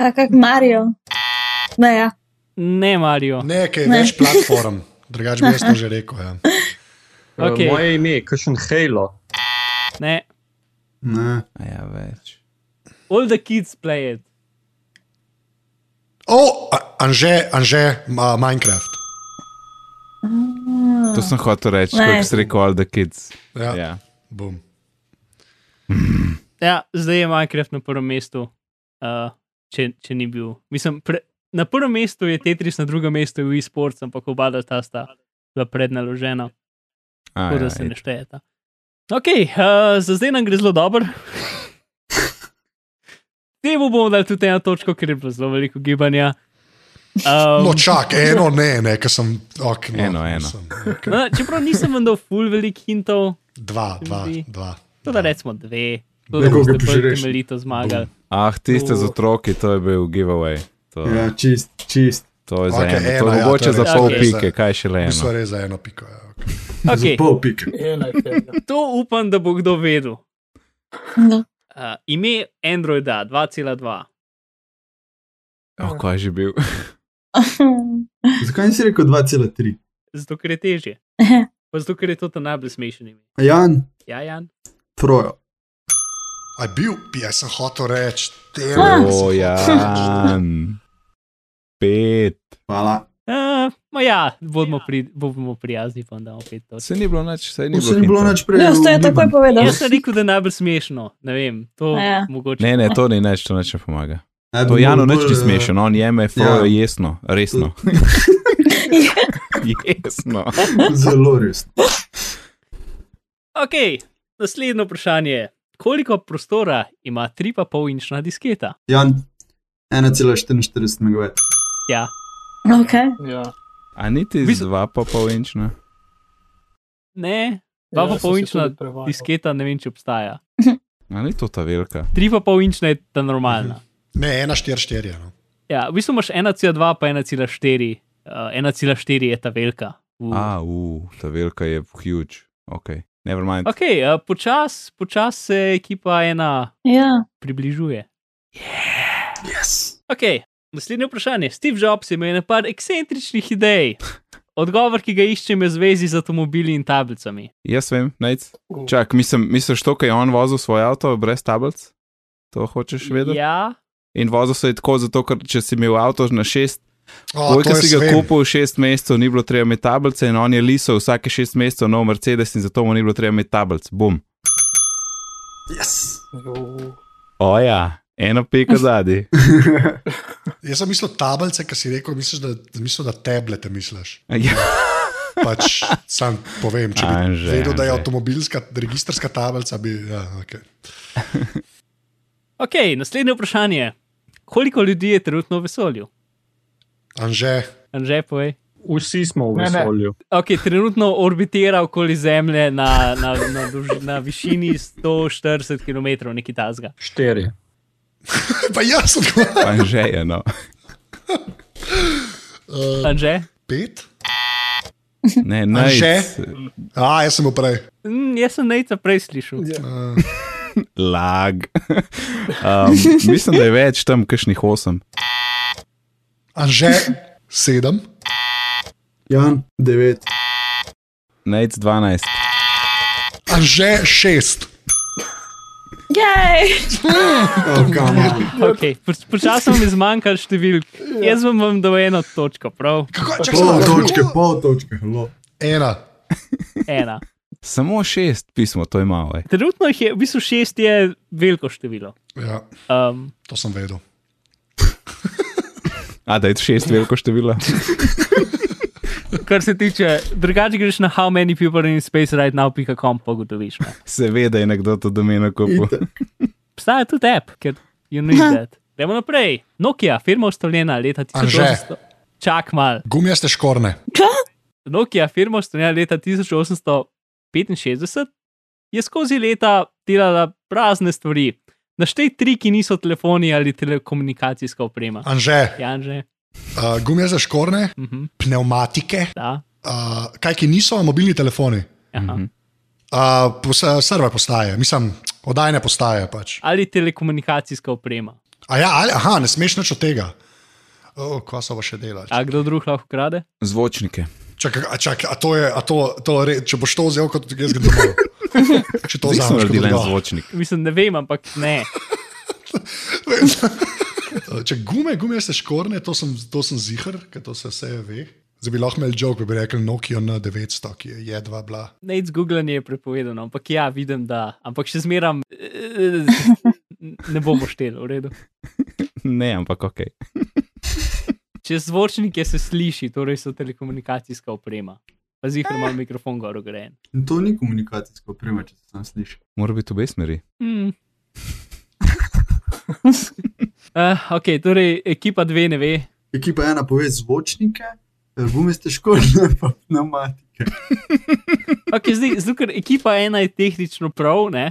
Speaker 6: A kak Mario. Ne, ja.
Speaker 2: Ne,
Speaker 5: No.
Speaker 2: Marijo.
Speaker 3: Ne, kaj je
Speaker 6: Ne.
Speaker 3: več platform, drugače bi jaz to že rekel. Ja.
Speaker 2: Okej.
Speaker 4: okay. uh, moje ime je Kršen Halo,
Speaker 2: Ne.
Speaker 7: Ne.
Speaker 1: A Ja, več.
Speaker 2: All the kids play it.
Speaker 3: O, a- Anže, Anže, ma, Minecraft.
Speaker 1: To sem hotel reči,
Speaker 6: Ne.
Speaker 1: kot si rekel, all the kids.
Speaker 3: Ja, ja.
Speaker 1: Ja.
Speaker 3: bom.
Speaker 2: Ja, zdaj je Minecraft na prvem mestu, uh, če, če ni bil. Mislim, pre, na prvem mestu je Tetris, na drugem mestu je Wii Sports, ampak oba da ta sta bila prednaložena.
Speaker 1: A,
Speaker 2: Tako
Speaker 1: ja,
Speaker 2: da se
Speaker 1: ej.
Speaker 2: ne štejeta. Ok, uh, za zdaj nam gre zelo dobro. Temu bomo dali tudi eno točko, ker je bilo zelo veliko gibanja. Um,
Speaker 3: No, čak, eno ne, ne, ker sem. Ok, no,
Speaker 1: Eno, eno.
Speaker 3: Sem,
Speaker 2: no, čeprav nisem vam dal full velik hintov,
Speaker 3: dva, dva,
Speaker 2: Zdi.
Speaker 3: dva.
Speaker 2: to da recimo dve, to da
Speaker 7: Nekoga
Speaker 2: boste bolj
Speaker 7: požreš.
Speaker 2: temeljito zmagali.
Speaker 1: Ah, tiste z
Speaker 2: To-
Speaker 1: otroki, to je bil giveaway. To, ja.
Speaker 7: Ja, čist, čist.
Speaker 1: to je za
Speaker 3: Okej,
Speaker 1: okay, eno, to
Speaker 3: eno,
Speaker 1: je
Speaker 3: ja,
Speaker 1: mogoče ja,
Speaker 3: to je
Speaker 1: za
Speaker 2: res.
Speaker 1: pol
Speaker 2: Okej.
Speaker 1: pike, kaj še le
Speaker 3: Mi smo
Speaker 1: eno.
Speaker 3: res za eno piko. Ja, okay.
Speaker 7: Za
Speaker 2: Okay,
Speaker 7: pol pik.
Speaker 5: ena je tega.
Speaker 2: to upam, da bo kdo vedel.
Speaker 6: No.
Speaker 2: Uh, ime Androida 2.2.
Speaker 1: Oh, kaj je že bil?
Speaker 7: Zakaj nisi rekel 2,3?
Speaker 2: Zato, ker je težje. Pa zato, ker je to ta najbolj smešen ime.
Speaker 7: A Jan,
Speaker 2: Ja, Jan.
Speaker 7: trojo.
Speaker 3: A je bil, jaz sem hotel reči, te
Speaker 2: Ah.
Speaker 1: O, ja. Jan. Pet.
Speaker 7: Hvala.
Speaker 2: Uh, ma ja, bodimo, pri, bodimo prijazni, pa da bomo pet točk.
Speaker 1: Se ni bilo nič, se ni
Speaker 7: To se
Speaker 1: bilo,
Speaker 7: ni bilo
Speaker 1: hintov.
Speaker 7: nič prej.
Speaker 6: Ja, to je takoj
Speaker 7: ugibam.
Speaker 6: povedal.
Speaker 2: Jaz sem rekel, da je najbolj smešno. Ne vem, to
Speaker 6: A ja.
Speaker 2: ja. mogoče.
Speaker 1: Ne, ne, to ni nič, to nič ne pomaga.
Speaker 7: Naj bi
Speaker 1: To Jano
Speaker 7: mogel
Speaker 1: nič ni
Speaker 7: bolj, eh,
Speaker 1: smešen, on jeme frojo
Speaker 7: ja.
Speaker 1: jesno, resno. jesno.
Speaker 7: Zelo res.
Speaker 2: Ok, naslednje vprašanje je, koliko prostora ima 3,5 inčna disketa?
Speaker 7: Jan, 1,44 MB.
Speaker 2: Ja,
Speaker 6: Okay.
Speaker 5: Ja.
Speaker 1: A niti z
Speaker 2: Mislim-
Speaker 1: dva pa polinčna.
Speaker 2: ne,
Speaker 5: Ja,
Speaker 2: 2,5 inčna
Speaker 5: disketa.
Speaker 2: disketa ne vem, če obstaja.
Speaker 1: A ni to ta velika?
Speaker 2: 3,5 inčna je ta
Speaker 1: Mhm.
Speaker 2: normalna.
Speaker 3: Ne, ena, štiri, štiri. je, No.
Speaker 2: Ja, v bistvu imaš 1,2 pa 1,4. Uh, 1,4 je ta velika. V...
Speaker 1: A, u, ta velika je huge. Ok, never mind.
Speaker 2: Ok, uh, počasi počas se ekipa ena
Speaker 6: Ja.
Speaker 2: približuje.
Speaker 7: Yes.
Speaker 2: Ok, naslednje vprašanje. Steve Jobs je imel nekaj ekscentričnih idej. Odgovor, ki ga iščem, je v zvezi z avtomobili in tablicami.
Speaker 1: Jaz vem, najc.
Speaker 5: U.
Speaker 1: Čak, mislim, misliš to, kaj je on vozil svoj avto brez tablic? To hočeš vedeti?
Speaker 2: Ja,
Speaker 1: In vozil se je tako, zato ker če si imel avto na šest,
Speaker 3: O,
Speaker 1: koliko
Speaker 3: to
Speaker 1: si
Speaker 3: jaz
Speaker 1: ga
Speaker 3: vem.
Speaker 1: kupil, šest mesecev, ni bilo treba imeti tablice in on je lisal vsake šest mesecev nov Mercedes in zato mu ni bilo treba imeti tablic. Bum.
Speaker 7: yes.
Speaker 1: Oja, eno piko zadnji.
Speaker 3: Jaz sem mislil tablice, ki si rekel, misliš, da, mislil, da tablete misliš.
Speaker 1: Ja.
Speaker 3: Pač sam povem, če bi
Speaker 1: Anže,
Speaker 3: vedel, da je
Speaker 1: Anže.
Speaker 3: avtomobilska, registrska tablica, bi. Ja, okay.
Speaker 2: ok, naslednje vprašanje. Koliko ljudi je trenutno v vesolju?
Speaker 3: Anže,
Speaker 2: Anže, povej.
Speaker 4: vsi smo v
Speaker 5: Ne, ne.
Speaker 4: vesolju.
Speaker 2: Ok, trenutno orbitira okoli Zemlje na, na, na, dolž, na višini 140 km, nekaj tasga.
Speaker 4: Štiri.
Speaker 3: pa jaz odgovarjam.
Speaker 1: Anže je, no.
Speaker 3: Uh,
Speaker 2: Anže?
Speaker 3: pet?
Speaker 1: Ne,
Speaker 3: Anže?
Speaker 1: ne.
Speaker 3: A, jaz sem bil prej.
Speaker 2: Mm, jaz sem najca prej slišal.
Speaker 3: Uh,
Speaker 1: Lag. Um, mislim, da je več tam, kakšnih osem.
Speaker 3: Anže, sedem.
Speaker 7: Jan, 9.
Speaker 1: Najc 12.
Speaker 3: Anže, šest.
Speaker 6: Jej!
Speaker 7: Oh, come on.
Speaker 1: Ja.
Speaker 2: Okay. Poč- Počasno mi zmanjka številk. Jaz vam bom dal eno točko, prav?
Speaker 3: Kako če
Speaker 7: Pol točke, pol točke. Hello.
Speaker 3: Ena.
Speaker 2: Ena.
Speaker 1: Samo šest pismo, to je malo. ej.
Speaker 2: Trenutno jih je, v bistvu šest je veliko število.
Speaker 3: Ja,
Speaker 2: Um,
Speaker 3: to sem vedel.
Speaker 1: A da je šest veliko število.
Speaker 2: kar se tiče, drugače greš na how many people are in space right now.com, pa ugotoviš. ne.
Speaker 1: Seveda je nekdo to domeno kupil.
Speaker 2: Obstaja tudi app, ker you need that. Gremo naprej. Nokia, firma ustaljena leta
Speaker 3: Anže.
Speaker 2: 1800. Čak mal.
Speaker 3: Gumijaste škorne.
Speaker 2: Nokia, firma ustaljena leta 1865, je skozi leta delala razne stvari. Naštej tri, ki niso telefoni ali telekomunikacijska oprema.
Speaker 3: Anže,
Speaker 2: Janže,
Speaker 3: uh, gumijaste škorne,
Speaker 2: uh -huh,
Speaker 3: pneumatike,
Speaker 2: da.
Speaker 3: uh, kaj ki niso mobilni telefoni.
Speaker 2: Aha.
Speaker 3: Uh, pos, server postaje, mislim, oddajne postaje pač.
Speaker 2: Ali telekomunikacijska oprema.
Speaker 3: A ja, ali, aha, ne smeš nič od tega. Oh, kva so pa še delali?
Speaker 2: A kdo drug lahko krade?
Speaker 1: Zvočnike.
Speaker 3: Čakaj, a, čak, a to je, a to, to re, če boš to vzel, kot jaz grem domov. Če to
Speaker 1: Nisem
Speaker 3: vzameš, kot
Speaker 1: naredil en
Speaker 3: odgovor.
Speaker 1: zvočnik.
Speaker 2: Mislim, ne vem, ampak ne.
Speaker 3: Eh, Če gume, gume se škorne, to sem, to sem zihar, ker to se vse ve. Zdaj bi lahko imel joke, bi rekel Nokia N900, ki je jedva bila.
Speaker 2: Nec googlanje je prepovedano, ampak ja, vidim, da. Ampak še zmeram, eh, ne bomo šteli, v redu.
Speaker 1: Ne, ampak ok.
Speaker 2: Če zvočnike se sliši, torej so telekomunikacijska oprema. Pa zihar ima mikrofon gor ugrajen.
Speaker 7: In to ni komunikacijsko oprema, če se tam sliši.
Speaker 1: Mora biti v obe smeri.
Speaker 2: Mm. Uh, ok, torej ekipa dve ne ve.
Speaker 7: Ekipa ena pove zvočnike, gumeste škorne pa pneumatike.
Speaker 2: Okay, zdaj, zdaj, ker ekipa ena je tehnično prav, ne?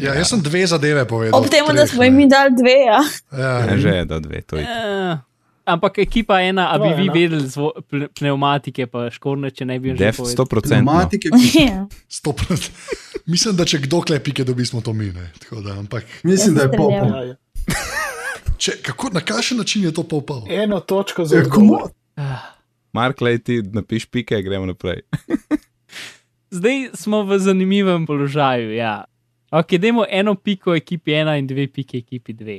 Speaker 3: Ja, jaz sem dve zadeve povedal.
Speaker 6: Ob tem, da
Speaker 3: treh,
Speaker 6: smo
Speaker 3: ne.
Speaker 6: jim mi dali dve, ja.
Speaker 3: Ja,
Speaker 1: Anže je da dve, to je.
Speaker 2: Uh, ampak ekipa ena, a bi
Speaker 5: To je
Speaker 2: vi
Speaker 5: ena.
Speaker 2: vedeli zvo, pne- pneumatike, pa škorne, če ne bi že
Speaker 1: Def
Speaker 2: povedali.
Speaker 1: 100%. no.
Speaker 7: Pneumatike,
Speaker 6: Ja.
Speaker 3: stop. Mislim, da če kdo klepike dobi, smo to mi. ne. Tako Da, ampak
Speaker 7: mislim, da je pol pol.
Speaker 5: Ja, ja.
Speaker 3: če, kako, na kakšen način je to pol pol?
Speaker 5: Eno točko za
Speaker 7: Ja, komu?
Speaker 5: odgovor.
Speaker 1: Mark, lej ti napiš pike, gremo naprej.
Speaker 2: Zdaj smo v zanimivem položaju. Ja. Ok, dajmo eno piko ekipi ena in dve pike ekipi dve.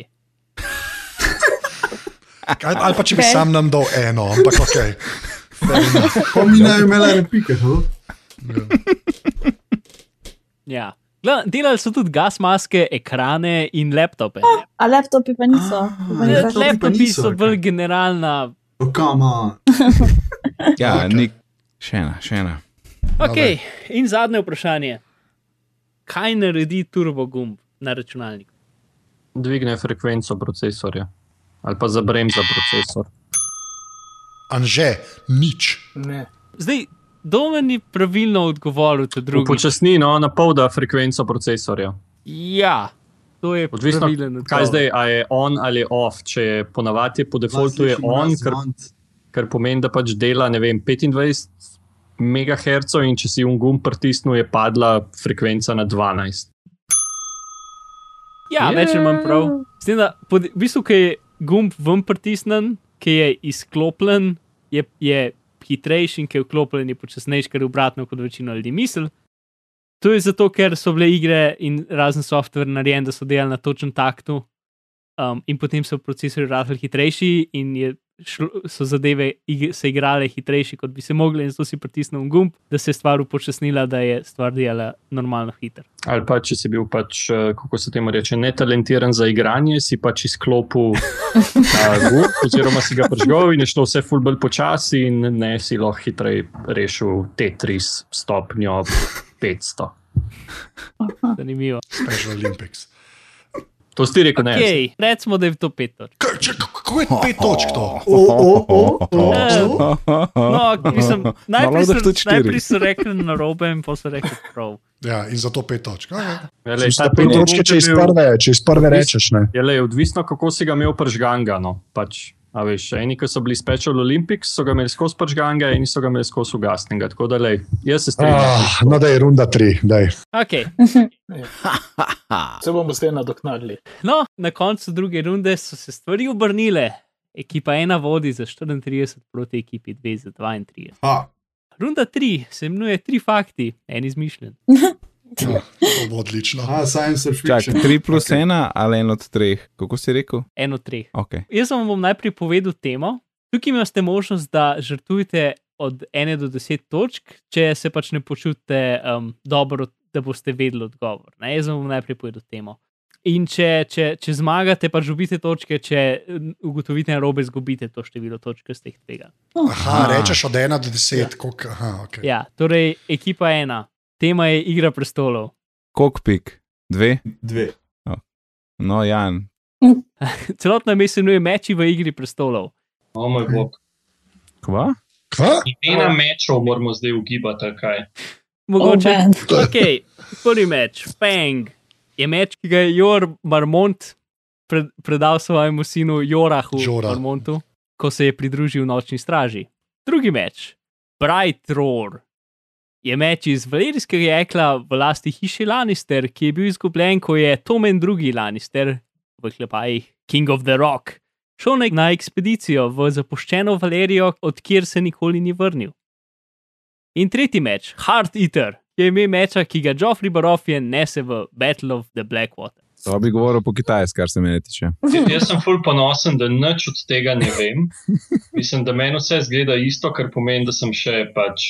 Speaker 3: Kaj, ali pa če bi
Speaker 6: Ok.
Speaker 3: sam nam dal eno, ampak ok.
Speaker 7: Pa mi ne bi imeli ene pike, hello.
Speaker 2: Ja. Gleda, delali so tudi gas maske, ekrane in laptope. Eh,
Speaker 6: A laptopi pa niso. Ah,
Speaker 3: Ah,
Speaker 6: Pa ni
Speaker 7: Ja,
Speaker 6: tako.
Speaker 7: laptopi pa
Speaker 2: Laptopi
Speaker 7: niso,
Speaker 2: so
Speaker 7: ok.
Speaker 2: bolj generalna.
Speaker 7: Oh, come on.
Speaker 1: Ja,
Speaker 3: Okej.
Speaker 1: nik. Še ena, še ena.
Speaker 2: Ok, in zadnje vprašanje. Kaj naredi turbo gumb na računalniku?
Speaker 4: Dvigne frekvenco procesorja ali pa zabremza procesor.
Speaker 3: Anže, nič.
Speaker 5: Ne.
Speaker 2: Zdaj, Domen je pravilno odgovoril, če drugo.
Speaker 4: Upočasni, no, na pol da frekvenco procesorja.
Speaker 2: Ja, to je
Speaker 4: Odvisno,
Speaker 2: pravilen
Speaker 4: kaj
Speaker 2: odgovor.
Speaker 4: zdaj, a je on ali je off. Če je ponavadi je po defaultu je on, ker, kar pomeni, da pač dela, ne vem, 25 MHz in če si un gum pritisnil, je padla frekvenca na 12.
Speaker 2: Ja, yeah. več ali manj prav. S tem, da pod, v bistvu, ki je gumb ven pritisnen, ki je izklopljen, je, je hitrejši in ki je vklopljen, je počasnejši, kar je obratno kot večino ljudi misli. To je zato, ker so bile igre in razen softver narejen, da so delali na točen taktu, um, in potem so procesori rasli hitrejši, in je, šlo, so zadeve ig se igrale hitrejši, kot bi se mogli, in zato si pritisnil gumb, da se je stvar upočasnila, da je stvar delala normalno hitro.
Speaker 4: Ali pa če si bil pač, eh, kako se temu reče, netalentiran za igranje, si pač izklopil ta gumb, oziroma si ga pržgal in je šlo vse fulbol počasi, in ne si lahko hitreje rešil Tetris stopnjo 500.
Speaker 2: Zanimivo.
Speaker 3: Special Olympics.
Speaker 4: To si ti rekel, ne. jaz.
Speaker 2: Okay, recimo, da je to pet točk.
Speaker 3: Kaj, če, kako je pet točk to?
Speaker 7: O, o, o, o.
Speaker 2: Eh, No, mislim, najprej,
Speaker 1: Malo daš
Speaker 2: so,
Speaker 1: tudi štiri.
Speaker 2: najprej so rekli na robe, in pa so rekli prav.
Speaker 3: Ja, in zato pet točk. ja. Okay.
Speaker 4: Glej,
Speaker 8: Mislim,
Speaker 4: ta
Speaker 8: da pet
Speaker 4: pet
Speaker 8: točk,
Speaker 4: točk
Speaker 8: če
Speaker 4: je
Speaker 8: iz
Speaker 4: bil-
Speaker 8: prve, če iz prve rečeš. Ne.
Speaker 4: Je le odvisno, kako si ga imel pržganga. No. Pač, a veš, eni, ki so bili Special Olympics, so ga imeli skozi pržganga, eni so ga imeli skozi ugasnega. Tako da, lej, jaz se strinjam.
Speaker 8: Ah, no, da je runda tri. Daj.
Speaker 2: Okay.
Speaker 5: Se bomo zdaj nadoknadili.
Speaker 2: No, na koncu druge runde so se stvari obrnile. Ekipa ena vodi za 34 proti ekipi 2 za 32.
Speaker 7: Ha,
Speaker 2: Runda 3 se imenuje tri fakti, en izmišljen.
Speaker 3: Ja, to bo odlično.
Speaker 7: ha, science or
Speaker 1: Čak,
Speaker 7: fiction.
Speaker 1: 3 plus 1 ali 1 od 3, kako si rekel?
Speaker 2: En od treh.
Speaker 1: Okay.
Speaker 2: Jaz vam bom najprej povedal temo. Tukaj imate možnost, da žrtvujete od 1 do 10 točk, če se pač ne počutite um, dobro, da boste vedeli odgovor. Ne? Jaz vam bom najprej povedal temo. In če, če, če zmagate, pač dobite točke, če mm, ugotovite na robe, izgubite to število točk, ki ste jih tega.
Speaker 3: Aha, rečeš od ena do deset. koliko- Aha, okay.
Speaker 2: Ja, torej ekipa ena, tema je igra prestolov.
Speaker 1: Kokpik, 2,
Speaker 7: Dve.
Speaker 1: no Jan,
Speaker 2: Celotna mest se imenuje meči v igri prestolov.
Speaker 4: O moj bog.
Speaker 1: kva?
Speaker 3: Kva?
Speaker 4: Imena mečev moramo zdaj ugibati, kaj.
Speaker 2: Mogoče.
Speaker 6: Oh, man.
Speaker 2: Ok, prvi meč, Fang, je meč, ki ga je Jor Marmont pred, predal svojemu sinu Jorahu
Speaker 3: Jora.
Speaker 2: Marmontu, ko se je pridružil nočni straži. Drugi meč, Bright Roar, je meč iz valerijskega jekla v lasti hiše Lannister, ki je bil izgubljen, ko je Tomen drugi Lannister, v klepajih King of the Rock, šel na- na ekspedicijo v zapuščeno Valerijo, odkjer se nikoli ni vrnil. In tretji meč, Hard Eater, je ime meča, ki ga Joffrey Barofian nese v Battle of the Blackwater.
Speaker 1: To bi govoril po kitajsku, kar se mene tiče.
Speaker 4: Jaz sem ful ponosen, da nič od tega ne vem. Mislim, da meni vse zgleda isto, kar pomeni, da sem še pač,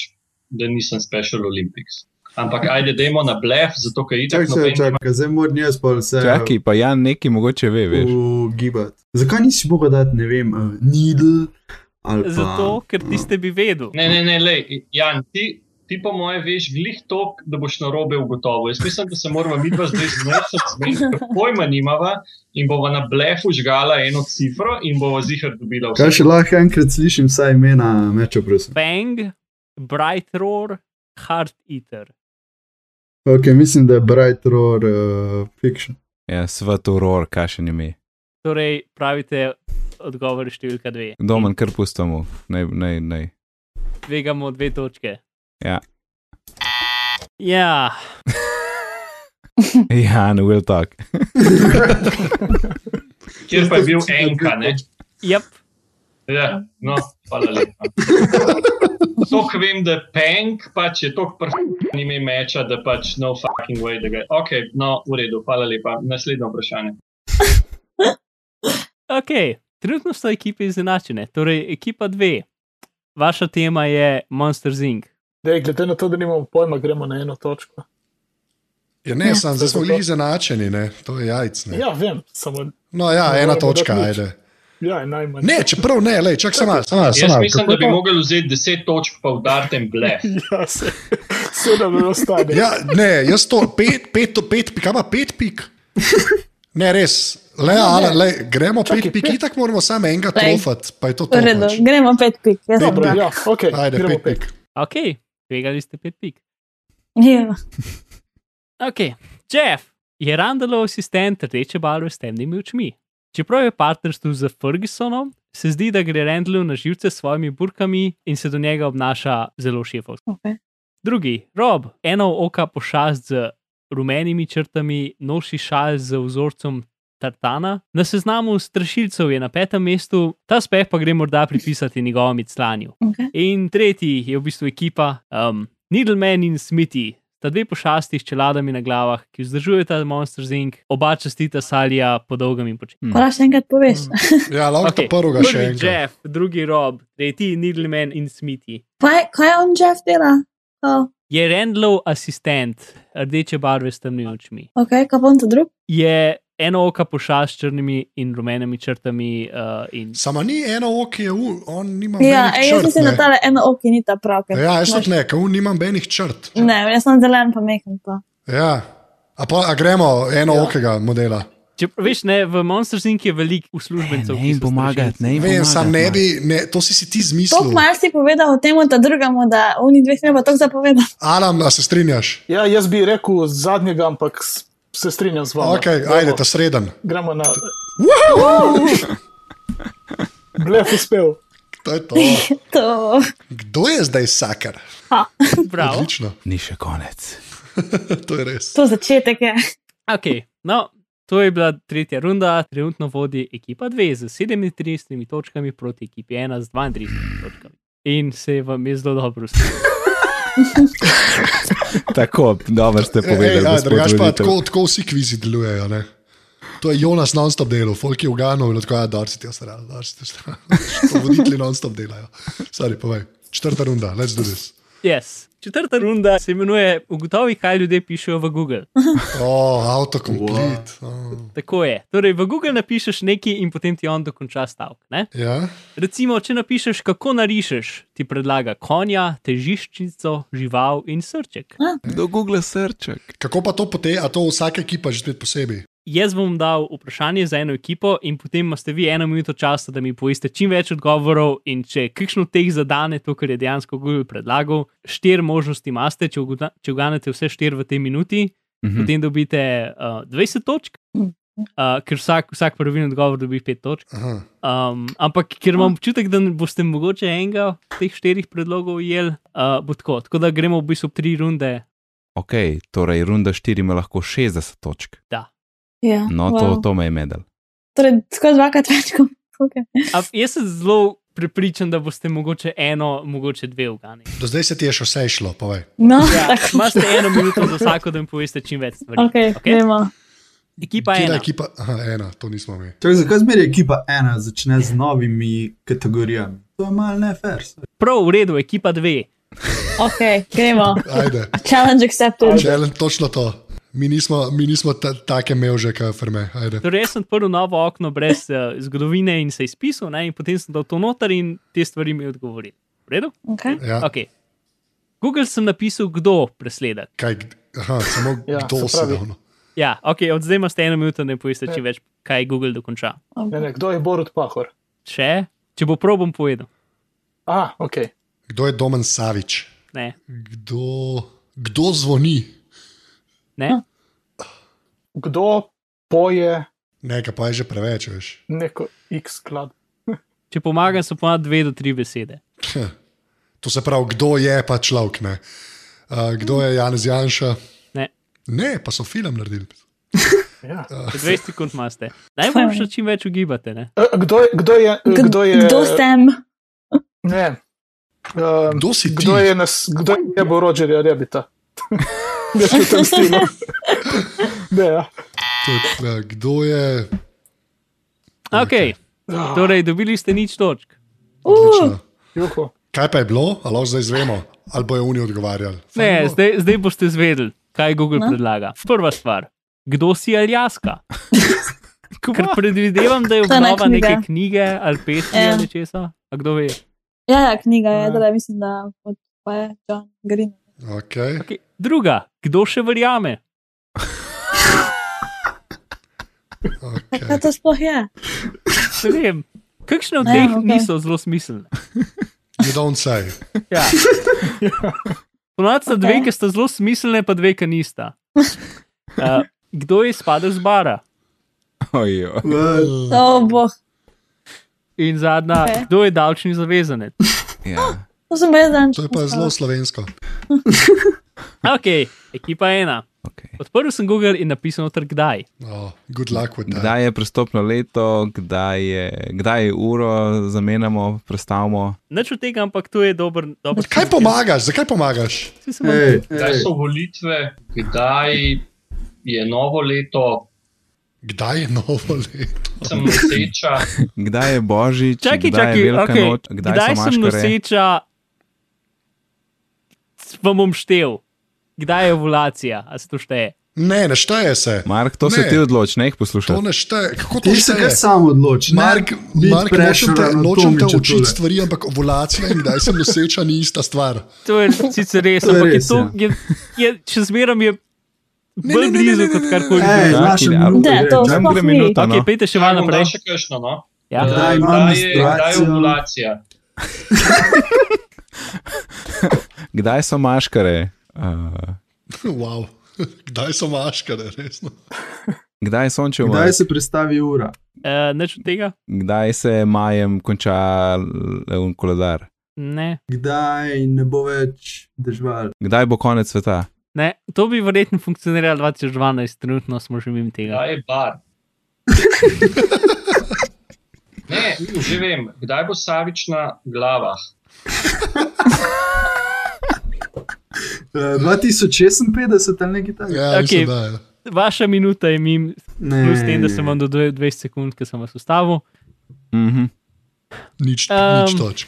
Speaker 4: da nisem Special Olympics. Ampak ajde, dajmo na blef, zato ker
Speaker 7: Čakaj,
Speaker 4: itak
Speaker 7: čakaj,
Speaker 4: noben
Speaker 7: čakaj, zdaj moram jaz pa vse.
Speaker 1: Čakaj, pa Jan neki mogoče ve, veš.
Speaker 7: Ugibati. Zakaj nisi mogel dati, ne vem, uh, needle ali pa...
Speaker 2: Zato, ker tiste bi vedel.
Speaker 4: Ne, ne, ne, lej, Jan, ti, ti po moje veš glih to, da boš na robe ugotovil. Jaz mislim, da se moramo mi dva zdaj zmešati, ker pojma nimava in bova na blefu žgala eno cifro in bova zihar dobila
Speaker 7: Kaj
Speaker 4: vse.
Speaker 7: še lahko enkrat slišim, saj imena meča, prosim.
Speaker 2: Fang, Bright Roar, Hard Eater.
Speaker 7: Ok, mislim, da je Bright Roar uh, fiction.
Speaker 1: Ja, svet uror, kaj še ne mi.
Speaker 2: Torej, pravite odgovor je številka dve.
Speaker 1: Domen kar pustamo, naj, naj, naj.
Speaker 2: Tvegamo dve točke.
Speaker 1: Ja.
Speaker 2: Ja,
Speaker 1: Jan, we'll talk.
Speaker 4: Kjer pa je bil enka, ne?
Speaker 2: yep.
Speaker 4: Ja, no, hvala lepa. Tok vem, da je Peng, pač je tok prhni ime meča, da pač no fucking way, da ga je. Ok, no, v redu, hvala lepa. Naslednje vprašanje.
Speaker 2: Ok, trenutno so ekipe izenačene. Torej, ekipa dve, vaša tema je Monsters Inc.
Speaker 5: Dej, glede na to, da nimamo pojma, gremo na eno točko.
Speaker 3: Ja, ne, sam, zdaj smo
Speaker 5: to.
Speaker 3: bili izenačeni, ne? to je jajcne.
Speaker 5: Ja, vem, samo
Speaker 3: No, ja,
Speaker 5: Ne
Speaker 3: ena
Speaker 5: moremo
Speaker 3: točka,
Speaker 5: dati nič.
Speaker 3: ajde.
Speaker 5: ja, je najmanj.
Speaker 3: Ne, čeprav ne, lej, čak sama, sama,
Speaker 4: Jaz
Speaker 3: sama.
Speaker 4: mislim, da bi mogli vzeti 10 točk, pa udariti en blef.
Speaker 5: Ja, se, sedem je ostane.
Speaker 3: Ja, ne, jaz to, pet, pet, to pet, pik, ama pet pik. Ne, res, le, ale, le, gremo pet pik, itak moramo samo enega
Speaker 6: Lej.
Speaker 3: trofat, pa je to to.
Speaker 6: V redu,
Speaker 3: pač.
Speaker 6: gremo pet pik. Jaz sem
Speaker 5: Dobro,
Speaker 6: prav.
Speaker 5: ja, ok,
Speaker 3: Ajde,
Speaker 5: gremo
Speaker 3: pet
Speaker 5: pet.
Speaker 3: pik.
Speaker 2: Ok, tvegali ste pet pik.
Speaker 6: Ja.
Speaker 2: Ok, Jeff je Randallov asistent rdeče barve s temnimi očmi. Čeprav je v partnerstvu z Fergusonom, se zdi, da gre Randallu na živce s svojimi burkami in se do njega obnaša zelo šefovsko.
Speaker 6: Okay.
Speaker 2: Drugi, Rob, eno oka pošast z rumenimi črtami, noši šal z vzorcem tartana. Na seznamu strašilcev je na petem mestu, ta speh pa gre morda pripisati njegovemu clanju.
Speaker 3: Mm.
Speaker 6: Okay.
Speaker 2: In tretji je v bistvu ekipa um, Needleman in Smithy, ta dve pošasti s čeladami na glavah, ki vzdržujeta Monster Zink, oba častita Salija po dolgem in počitku.
Speaker 6: Moraš še enkrat poveš.
Speaker 3: Ja, lahko okay. prvega še
Speaker 2: prvi
Speaker 3: enega.
Speaker 2: Jeff, drugi Rob, tretji Needleman in Smithy.
Speaker 6: Kaj, kaj on Jeff dela? Oh,
Speaker 2: Je Randlov asistent, rdeče barve s temnimi očmi.
Speaker 6: ok, kaj bom to drug?
Speaker 2: je eno oka pošast s črnimi in rumenimi črtami. Uh, in...
Speaker 3: Sama ni eno oko, je un, on nima
Speaker 6: Ja,
Speaker 3: nobenih
Speaker 6: ej, jaz
Speaker 3: črt,
Speaker 6: mislim, da
Speaker 3: ne.
Speaker 6: ta eno oko ni ta prav. ker
Speaker 3: Ja, jaz
Speaker 6: imaš-
Speaker 3: tudi ne, ker un nimam benih črt.
Speaker 6: Ne, jaz sem zelen, pa mehkem pa.
Speaker 3: Ja. A, pa, a gremo eno ja. okega modela.
Speaker 2: Če veš, ne, v Monsters Inc. je veliko uslužbencev,
Speaker 1: Ne
Speaker 2: ki
Speaker 1: jim
Speaker 2: so
Speaker 1: pomagati, ne jim
Speaker 3: Vem,
Speaker 1: pomagati.
Speaker 3: sam ne bi, ne, to si, si ti
Speaker 6: Tako
Speaker 3: zmislil.
Speaker 6: malo si povedal o tem, da drugamo, da oni dve treba tako zapovedati.
Speaker 3: Alam, a se strinjaš?
Speaker 5: Ja, jaz bi rekel zadnjega, ampak s- se strinjam z vami.
Speaker 3: Ok, ajde, ta sreden.
Speaker 5: Gremo na. Blef uspel.
Speaker 3: To je to.
Speaker 6: To.
Speaker 3: Kdo je zdaj sakar?
Speaker 2: Prav.
Speaker 3: Odlično,
Speaker 1: Ni še konec.
Speaker 3: to je res.
Speaker 6: To začetek je.
Speaker 2: Ok, no, to je bila tretja runda, trenutno vodi ekipa 2 z 37 točkami proti ekipi 1 z 32 točkami. In se vam je zelo dobro uspelo.
Speaker 1: Tako, dobro ste povedali.
Speaker 3: E, Ej, ej,
Speaker 1: gospod
Speaker 3: drugač pa
Speaker 1: voditelj.
Speaker 3: tako, tako vsi kvizi delujejo. Ne? To je Jonas non-stop delal, folk je uganil in tako, ja, da si ti ostral, da si ti ostral. Voditelji non-stop delajo. Sorry, povej. Četrta runda, let's do this.
Speaker 2: Yes. Četrta runda se imenuje Ugotovi, kaj ljudje pišejo v Google.
Speaker 3: Oh, autocomplete. Oh.
Speaker 2: Tako je. Torej, v Google napišeš nekaj in potem ti on dokonča stavek. Ne?
Speaker 3: Ja,
Speaker 2: Recimo, če napišeš, kako narišeš, ti predlaga konja, težiščico, žival in srček.
Speaker 1: Do Google srček.
Speaker 3: kako pa to poteka, a to vsaka ekipa že spet posebej?
Speaker 2: Jaz bom dal vprašanje za eno ekipo, in potem imate vi eno minuto časa, da mi poveste čim več odgovorov. In če kakšno od teh zadane to, kar je dejansko Google predlagal, štiri možnosti imate, če, ugoda- če uganete vse štiri v tej minuti,
Speaker 1: Mhm.
Speaker 2: potem dobite uh, 20 točk,
Speaker 6: Mhm.
Speaker 2: uh, ker vsak, vsak pravilen odgovor dobi 5 točk.
Speaker 3: Aha.
Speaker 2: Um, ampak ker imam občutek, da ne boste mogoče enega od teh štirih predlogov jel, uh, bo tako. Tako da gremo v bistvu tri runde.
Speaker 1: Ok, torej runda 4 ima lahko 60 točk.
Speaker 2: Ah,
Speaker 6: Ja,
Speaker 1: No, wow. to, to me je medel.
Speaker 6: Torej, skoraj dvakrat več kot. Okay.
Speaker 2: A, jaz sem zelo prepričan, da boste mogoče eno, mogoče dve ugani.
Speaker 3: Do zdaj se ti je še vse išlo, povej.
Speaker 6: No,
Speaker 2: Ja,
Speaker 6: tako.
Speaker 2: imate eno minuto za vsako, da jim poveste čim več stvari.
Speaker 6: Okay, okay.
Speaker 2: Okay?
Speaker 6: Gremo.
Speaker 2: Ekipa
Speaker 3: Katera
Speaker 2: ena.
Speaker 3: ekipa, aha, ena, to nismo mi.
Speaker 7: Čak, Torej, zakaj zmeraj ekipa ena začne z novimi kategorijami? To je malo nefer.
Speaker 2: Prav, v redu, ekipa dve.
Speaker 6: Okay, gremo.
Speaker 3: Ajde,
Speaker 6: Challenge accepted.
Speaker 3: čelen, točno to. Mi nismo, mi nismo ta, take mevže, kot frme. Ajde.
Speaker 2: Torej, jaz sem odprl novo okno brez uh, zgodovine in se izpisal, ne? in potem sem dal to noter in te stvari mi je odgovoril. V redu?
Speaker 6: Okay.
Speaker 3: Ja,
Speaker 2: Ok. Google sem napisal, kdo presleda.
Speaker 3: kaj, aha, samo
Speaker 5: Ja,
Speaker 3: ja, kdo
Speaker 5: se
Speaker 3: se
Speaker 5: pravi.
Speaker 3: davno.
Speaker 2: Ja, ok, od zdaj imaš eno minuto, ne poveste, če več, kaj Google dokonča.
Speaker 5: Ne, ne, kdo je Borut Pahor?
Speaker 2: Če, če bo prav, bom povedal.
Speaker 5: A, ok.
Speaker 3: Kdo je Domen Savič?
Speaker 2: Ne,
Speaker 3: Kdo, kdo zvoni?
Speaker 2: ne,
Speaker 5: Kdo poje
Speaker 3: Ne, kaj pa je že preveč, veš.
Speaker 5: neko X sklad?
Speaker 2: če pomagam, so pa dve do tri besede.
Speaker 3: Ph, To se pravi, kdo je pa človek. Ne? Uh, kdo je Janez Janša?
Speaker 2: Ne.
Speaker 3: Ne, pa so film naredili.
Speaker 5: Ja.
Speaker 2: Še 20 sekund imate. Najbolj še čim več ugibate. Ne?
Speaker 5: E, Kdo, je- kdo je?
Speaker 6: Kdo,
Speaker 5: Kdo je?
Speaker 6: kdo sem?
Speaker 5: Ne. Um,
Speaker 3: Kdo si ti?
Speaker 5: Kdo je, nas, kdo je bo Rogerja Rebita? Ne, če v tem stilu. Ne, ja.
Speaker 3: To je, uh, kdo je.
Speaker 2: Ok, torej dobili ste nič točk. Uh.
Speaker 3: Odlično.
Speaker 5: Juhu.
Speaker 3: Kaj pa je bilo, ali lahko zdaj zvemo, ali bojo oni odgovarjali?
Speaker 2: Ne,
Speaker 3: Fajn bo.
Speaker 2: zdaj, zdaj boste zvedeli, kaj Google
Speaker 6: No.
Speaker 2: predlaga. Prva stvar, kdo si Aljaska? Ker predvidevam, da je
Speaker 6: To je ena
Speaker 2: obnova
Speaker 6: knjiga.
Speaker 2: neke knjige ali pesmi
Speaker 6: Ja.
Speaker 2: ali česa. A kdo ve?
Speaker 6: Ja, ja, knjiga je, da mislim, da od- pa je John Green.
Speaker 3: Okay.
Speaker 2: Okay. Druga, kdo še verjame?
Speaker 6: Kaj
Speaker 3: Okay.
Speaker 6: to sploh je?
Speaker 2: Ne vem. Kakšne od
Speaker 6: Ja,
Speaker 2: teh
Speaker 6: okej.
Speaker 2: niso zelo smiselne.
Speaker 3: You don't say.
Speaker 2: Ja. Ponovadi sta dve,
Speaker 6: Okej.
Speaker 2: ki sta zelo smiselne, pa dve, ki nista. Uh, kdo je spadal z bara?
Speaker 1: Ojo.
Speaker 6: To boh.
Speaker 2: In zadnja,
Speaker 6: Okej.
Speaker 2: okay. kdo je davčni zavezanec?
Speaker 1: Ja.
Speaker 6: To sem brez dan.
Speaker 3: To je pa zelo slovensko.
Speaker 2: Ok, ekipa ena.
Speaker 1: Okay.
Speaker 2: Odprl sem Google in napisal noter kdaj.
Speaker 3: Oh, good luck with that.
Speaker 1: Kdaj je prestopno leto, kdaj je, kdaj je uro, zamenjamo, prestavimo.
Speaker 2: Nič od tega, ampak to je dober. dober
Speaker 3: Kaj pomagaš, zakaj pomagaš?
Speaker 2: Saj sem vam-
Speaker 7: Ej,
Speaker 4: Kdaj
Speaker 7: ej.
Speaker 4: so volitve, kdaj je novo leto,
Speaker 3: Kdaj je novo leto?
Speaker 4: sem nesreča.
Speaker 1: Kdaj je božič,
Speaker 2: Čakaj,
Speaker 1: kdaj
Speaker 2: čakaj,
Speaker 1: je velika
Speaker 2: okay.
Speaker 1: noč,
Speaker 2: kdaj,
Speaker 1: kdaj,
Speaker 2: kdaj
Speaker 1: so
Speaker 2: sem
Speaker 1: maškare.
Speaker 2: noseča, vam bom štel. Kdaj je ovulacija, a se to šteje?
Speaker 3: Ne, ne šteje se.
Speaker 1: Mark, to ne. se
Speaker 3: Ne.
Speaker 1: ti odloči, ne jih
Speaker 3: To
Speaker 1: poslušaj.
Speaker 3: ne šteje. Kako to
Speaker 7: Ti se kar
Speaker 3: šteje?
Speaker 7: sam odloči. ne
Speaker 3: Mark,
Speaker 7: biti
Speaker 3: Mark nočem te,
Speaker 7: pressure na
Speaker 3: nočem te
Speaker 7: Tomiča tole.
Speaker 3: učiti stvari, ampak ovulacija in kdaj sem noseča ni ista stvar.
Speaker 2: To je sicer res,
Speaker 7: To je
Speaker 2: ampak je
Speaker 7: res,
Speaker 2: to,
Speaker 7: ja.
Speaker 2: je, je, še zmeraj je bolj blizu kot karkoli
Speaker 7: Ej,
Speaker 2: drugega.
Speaker 1: Ja,
Speaker 7: naša minuta.
Speaker 6: Ne,
Speaker 7: je,
Speaker 6: to
Speaker 7: čakaj.
Speaker 1: Tam
Speaker 6: sploh
Speaker 1: gre
Speaker 6: ni.
Speaker 1: minuta.
Speaker 2: Ok,
Speaker 1: no.
Speaker 2: pejte
Speaker 9: Kaj
Speaker 2: še malo
Speaker 9: bom dal
Speaker 2: naprej.
Speaker 9: še kakšno, no?
Speaker 2: Ja.
Speaker 9: Eh,
Speaker 7: Daj, imam
Speaker 9: kdaj je- Kdaj je
Speaker 7: distracijo.
Speaker 9: ovulacija?
Speaker 1: Kdaj so maškare? Uh,
Speaker 3: Wow. Kdaj so No. maškare, resno?
Speaker 1: kdaj sonče
Speaker 7: Kdaj
Speaker 1: umre?
Speaker 7: se prestavi ura?
Speaker 2: Uh, Neč od tega?
Speaker 1: Kdaj se majem konča un koledar?
Speaker 2: Ne.
Speaker 7: Kdaj ne bo več držal?
Speaker 1: Kdaj bo konec sveta?
Speaker 2: ne. To bi verjetno funkcioniralo 2012, trenutno smo že mimo tega.
Speaker 9: Kdaj je bar? Ne, že vem, kdaj bo Savič na glavah.
Speaker 7: Eh, 2056 ali nekaj takega?
Speaker 3: Ja,
Speaker 2: Okej.
Speaker 3: okay. da, ja.
Speaker 2: Vaša minuta je mimo,
Speaker 7: Ne.
Speaker 2: plus s tem, da sem vam dodal 20 sekund, ker sem vas ustavil.
Speaker 1: Mhm.
Speaker 3: Nič, um,
Speaker 2: Ehm.
Speaker 3: nič točk.